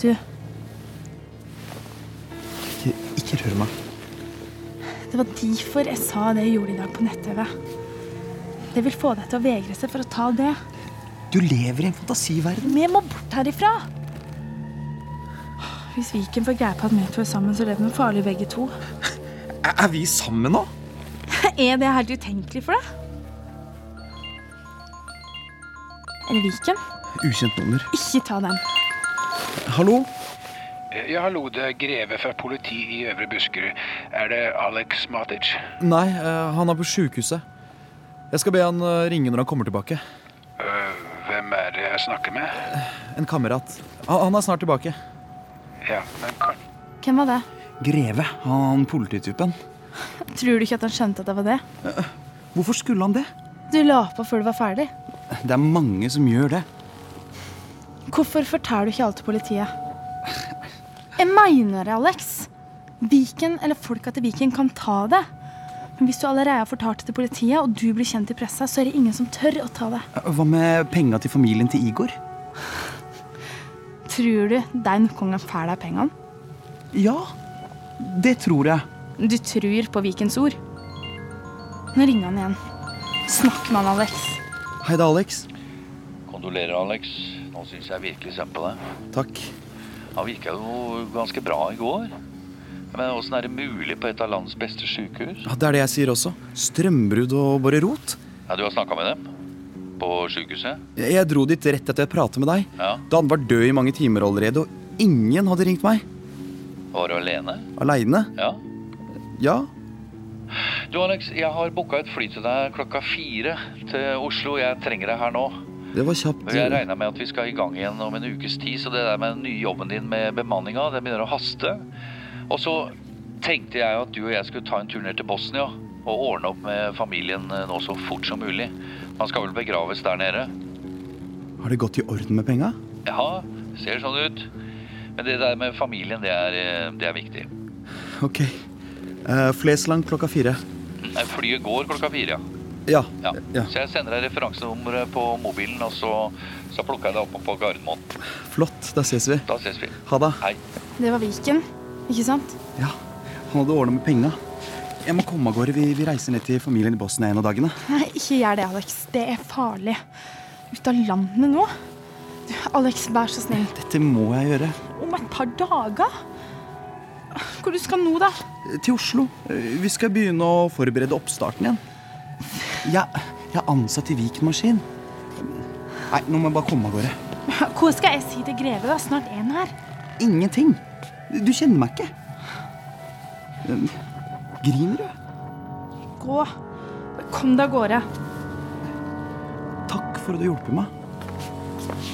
[SPEAKER 7] Du,
[SPEAKER 5] Ikke, ikke rør meg.
[SPEAKER 7] det var derfor jeg sa det jeg gjorde i dag på nett-TV. Det vil få deg til å vegre seg for å ta det.
[SPEAKER 5] Du lever i en fantasiverden.
[SPEAKER 7] Vi må bort herifra! Hvis Viken får greie på at vi to er sammen, så lever vi farlig begge to.
[SPEAKER 5] Er, er vi sammen nå?
[SPEAKER 7] Er det helt utenkelig for deg? Eller Viken?
[SPEAKER 5] Ukjent nummer.
[SPEAKER 7] Ikke ta den.
[SPEAKER 5] Hallo?
[SPEAKER 3] Eh, Ja, hallo, det er Greve fra politiet i Øvre Buskerud. Er det Alex Matic?
[SPEAKER 5] Nei, eh, han er på sjukehuset. Jeg skal be han eh, ringe når han kommer tilbake.
[SPEAKER 3] Øh, hvem er det jeg snakker med?
[SPEAKER 5] En kamerat. Han, han er snart tilbake.
[SPEAKER 3] Ja, men kan...
[SPEAKER 7] Hvem var det?
[SPEAKER 5] Greve. Han polititypen.
[SPEAKER 7] Tror du ikke at han skjønte at det var det?
[SPEAKER 5] Eh, Hvorfor skulle han det?
[SPEAKER 7] Du la på før du var ferdig.
[SPEAKER 5] Det er mange som gjør det.
[SPEAKER 7] Hvorfor forteller du ikke alt til politiet? Jeg mener det, Alex. Viken eller folka til Viken kan ta det. Men hvis du allerede har fortalt det til politiet, og du blir kjent i pressa, så er det ingen som tør å ta det.
[SPEAKER 5] Hva med penga til familien til Igor?
[SPEAKER 7] Tror du den kongen får deg pengene?
[SPEAKER 5] Ja, det tror jeg.
[SPEAKER 7] Du tror på Vikens ord. Nå ringer han igjen. Snakk med han, Alex.
[SPEAKER 5] Hei, det er Alex.
[SPEAKER 13] Kondolerer, Alex. Nå syns jeg virkelig synd på deg.
[SPEAKER 5] Takk.
[SPEAKER 13] Han virka jo ganske bra i går. Men åssen er det mulig på et av landets beste sykehus?
[SPEAKER 5] Ja, det er det jeg sier også. Strømbrudd og bare rot.
[SPEAKER 13] Ja, du har snakka med dem? På sykehuset?
[SPEAKER 5] Jeg jeg dro dit rett etter jeg pratet med deg.
[SPEAKER 13] Ja.
[SPEAKER 5] Da han var død i mange timer allerede, og ingen hadde ringt meg.
[SPEAKER 13] Var du alene?
[SPEAKER 5] Aleine.
[SPEAKER 13] Ja.
[SPEAKER 5] Ja.
[SPEAKER 13] Du, Alex, jeg har booka et fly til deg klokka fire til Oslo. Jeg trenger deg her nå.
[SPEAKER 5] Det var kjapt.
[SPEAKER 13] Og Jeg regna med at vi skal i gang igjen om en ukes tid, så det der med den nye jobben din med bemanninga, det begynner å haste. Og så tenkte jeg at du og jeg skulle ta en tur ned til Bosnia og ordne opp med familien eh, nå så fort som mulig. Man skal vel begraves der nede.
[SPEAKER 5] Har det gått i orden med penga?
[SPEAKER 13] Ja, ser sånn ut. Men det der med familien, det er, eh, det er viktig.
[SPEAKER 5] Ok. Eh, Flesland klokka fire.
[SPEAKER 13] Nei, Flyet går klokka fire, ja.
[SPEAKER 5] Ja.
[SPEAKER 13] ja. Så jeg sender deg referansenummeret på mobilen, og så, så plukker jeg deg opp på Gardermoen.
[SPEAKER 5] Flott. Da ses vi.
[SPEAKER 13] Da ses vi.
[SPEAKER 5] Ha det.
[SPEAKER 13] Hei.
[SPEAKER 7] Det var Viken, ikke sant?
[SPEAKER 5] Han hadde ordna med penga. Jeg må komme av gårde. Vi, vi reiser ned til familien i Bosnia en av dagene.
[SPEAKER 7] Nei, ikke gjør det, Alex. Det er farlig. Ut av landet nå. Du, Alex, vær så snill.
[SPEAKER 5] Dette må jeg gjøre.
[SPEAKER 7] Om et par dager? Hvor du skal nå, da?
[SPEAKER 5] Til Oslo. Eh, Vi skal begynne å forberede oppstarten igjen. Jeg, jeg er ansatt i Viken Maskin. Nei, nå må jeg bare komme av gårde.
[SPEAKER 7] Hva skal jeg si til Greve? da? Snart en her.
[SPEAKER 5] Ingenting. Du kjenner meg ikke. Eh, Griner du?
[SPEAKER 7] Gå. Kom deg av gårde.
[SPEAKER 5] Takk for at du hjelper meg.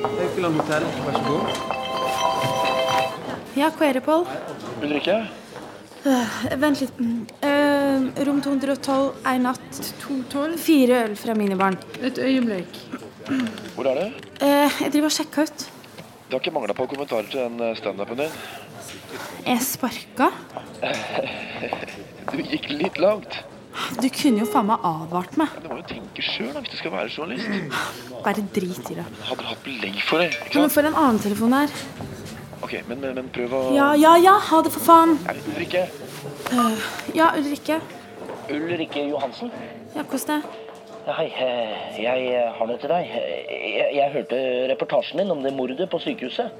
[SPEAKER 21] Haukeland hotell, vær så god.
[SPEAKER 7] Ja, hva er det, Pål?
[SPEAKER 21] Ulrikke?
[SPEAKER 4] Øh, vent litt. Mm. Øh, rom 212, ei natt. 212? Fire øl fra minibaren.
[SPEAKER 6] Et øyeblikk.
[SPEAKER 22] Hvor er det?
[SPEAKER 4] Øh, jeg driver og sjekker ut.
[SPEAKER 22] Det har ikke mangla på kommentarer til den eh, standupen din.
[SPEAKER 4] Jeg sparka?
[SPEAKER 22] Du gikk litt langt.
[SPEAKER 4] Du kunne jo faen meg advart meg.
[SPEAKER 22] Du må jo tenke sjøl hvis du skal være journalist.
[SPEAKER 4] Bare drit i det.
[SPEAKER 22] Hadde du hatt belegg for det?
[SPEAKER 4] Kan du få en annen telefon her?
[SPEAKER 22] Ok, men, men, men prøv å
[SPEAKER 4] Ja, ja, ja. Ha det, for faen.
[SPEAKER 22] Nei, Ulrikke.
[SPEAKER 4] Øh, ja, Ulrikke.
[SPEAKER 10] Ulrikke Johansen.
[SPEAKER 4] Ja, hvordan det?
[SPEAKER 10] Hei, eh, jeg eh, har noe til deg. Eh, Jeg, jeg hørte reportasjen din om det mordet på sykehuset.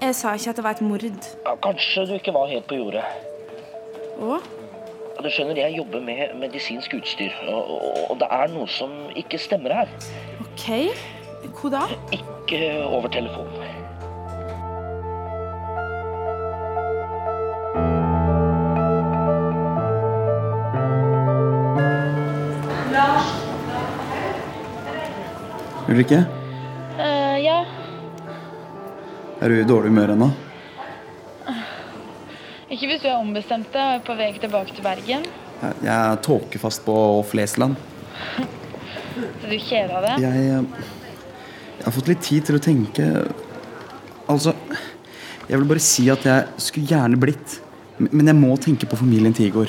[SPEAKER 4] Jeg sa ikke at det var et mord.
[SPEAKER 10] Ja, Kanskje du ikke var helt på jordet.
[SPEAKER 4] Og?
[SPEAKER 10] Ja, Du skjønner, jeg jobber med medisinsk utstyr, og, og, og det er noe som ikke stemmer her.
[SPEAKER 4] OK. Hva da?
[SPEAKER 10] Ikke over telefon.
[SPEAKER 5] Ulrikke,
[SPEAKER 30] Eh,
[SPEAKER 31] ja,
[SPEAKER 5] Er du i dårlig humør ennå?
[SPEAKER 30] Ikke hvis du er ombestemt deg og er på vei tilbake til Bergen.
[SPEAKER 5] Jeg er tåkefast på Flesland.
[SPEAKER 30] Så du kjeder deg.
[SPEAKER 5] Jeg, eh, jeg har fått litt tid til å tenke. Altså Jeg vil bare si at jeg skulle gjerne blitt. men- Men jeg må tenke på familien til Igor.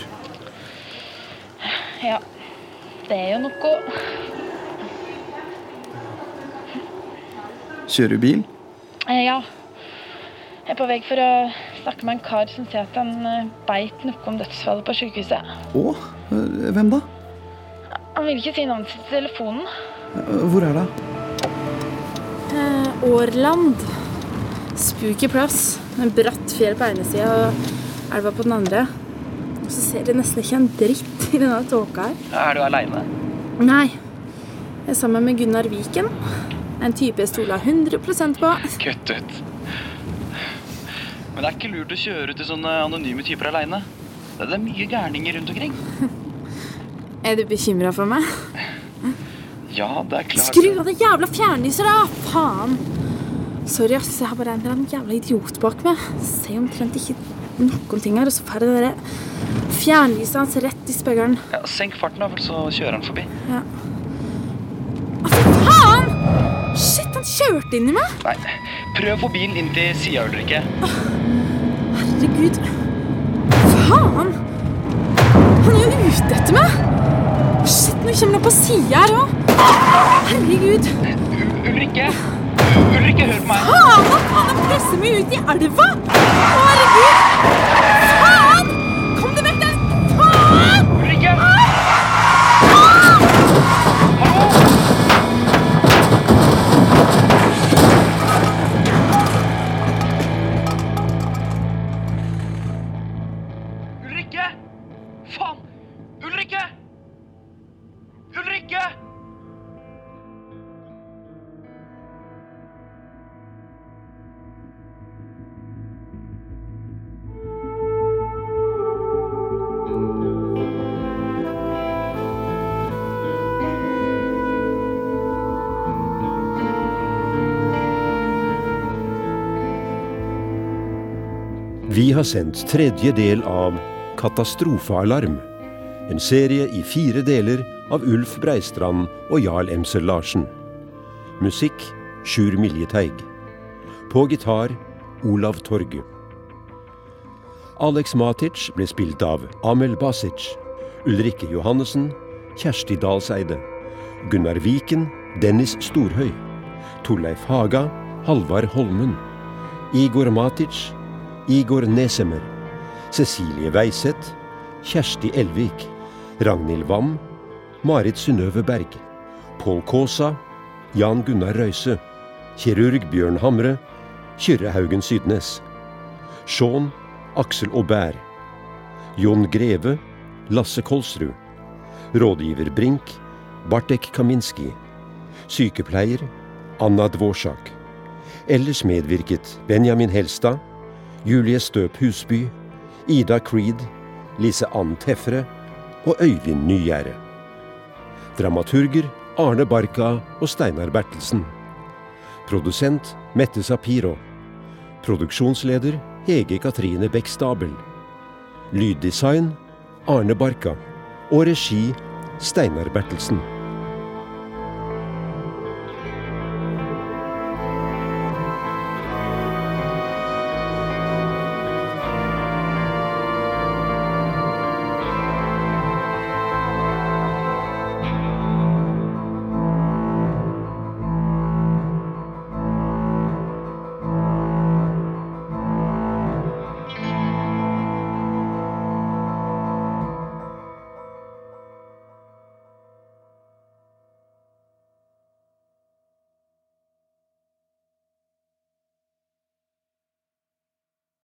[SPEAKER 30] Ja. Det er jo noe.
[SPEAKER 5] Kjører du bil?
[SPEAKER 30] Eh, Ja. Jeg er på vei for å snakke med en kar som sier at han eh, beit noe om dødsfallet på sykehuset.
[SPEAKER 5] Å? eh, Hvem da?
[SPEAKER 30] Han vil ikke si navnet sitt i telefonen.
[SPEAKER 5] Hvor er det?
[SPEAKER 7] Eh, Årland. Spooky plass. En bratt fjell på ene sida og elva på den andre. Og så ser jeg nesten ikke en dritt i denne tåka her.
[SPEAKER 3] Er du aleine?
[SPEAKER 7] Nei. Jeg er sammen med Gunnar Viken. En type jeg stoler 100 på.
[SPEAKER 3] Kutt ut. Men det er ikke lurt å kjøre til sånne anonyme typer aleine. Det er mye gærninger rundt omkring.
[SPEAKER 7] Er du bekymra for meg?
[SPEAKER 3] Ja, det er klart.
[SPEAKER 7] Skru av det jævla fjernlyset, da! Faen! Sorry, ass. Jeg har bare en eller annen jævla idiot bak meg. Ser omtrent ikke noen ting her. Og så får jeg det derre fjernlyset hans rett i speilet.
[SPEAKER 3] Ja, senk farten, da, for så kjører han forbi.
[SPEAKER 7] Ja. Å, fy faen! Shit, han kjørte inn i meg!
[SPEAKER 3] Nei, prøv å få bilen inn til sida, Ulrikke.
[SPEAKER 7] Herregud. Faen! Han er jo ute etter meg! Shit, nå kommer han på sida her òg. Herregud.
[SPEAKER 3] Ulrikke! Ulrikke, hør på meg!
[SPEAKER 7] Faen, han faen, han presser meg ut i elva! Å, herregud! Faen! Kom deg vekk der! Faen!
[SPEAKER 3] Ulrikke! Ulrikke! Faen! Ulrikke! Ulrikke!
[SPEAKER 4] Vi har sendt tredje del av Katastrofealarm. En serie i fire deler av Ulf Breistrand og Jarl Emser Larsen. Musikk Sjur Miljeteig. På gitar Olav Torgu. Alex Matic ble spilt av Amel Basic. Ulrikke Johannessen, Kjersti Dalseide. Gunnar Viken, Dennis Storhøy. Torleif Haga, Halvard Holmen. Igor Matic, Igor Nesemer, Cecilie Weiseth, Kjersti Elvik, Ragnhild Wam, Marit Synnøve Berg, Pål Kaasa, Jan Gunnar Røise, kirurg Bjørn Hamre, Kyrre Haugen Sydnes, Sean Aksel Aubert, Jon Greve, Lasse Kolsrud, rådgiver Brink, Bartek Kaminski, sykepleier Anna Dvorsak. Ellers medvirket Benjamin Helstad, Julie Støp Husby, Ida Creed, Lise Ann Tefre og Øyvind Nygjerde. Dramaturger Arne Barka og Steinar Bertelsen. Produsent Mette Sapiro. Produksjonsleder Hege Katrine Bekstabel. Lyddesign Arne Barka. Og regi Steinar Bertelsen.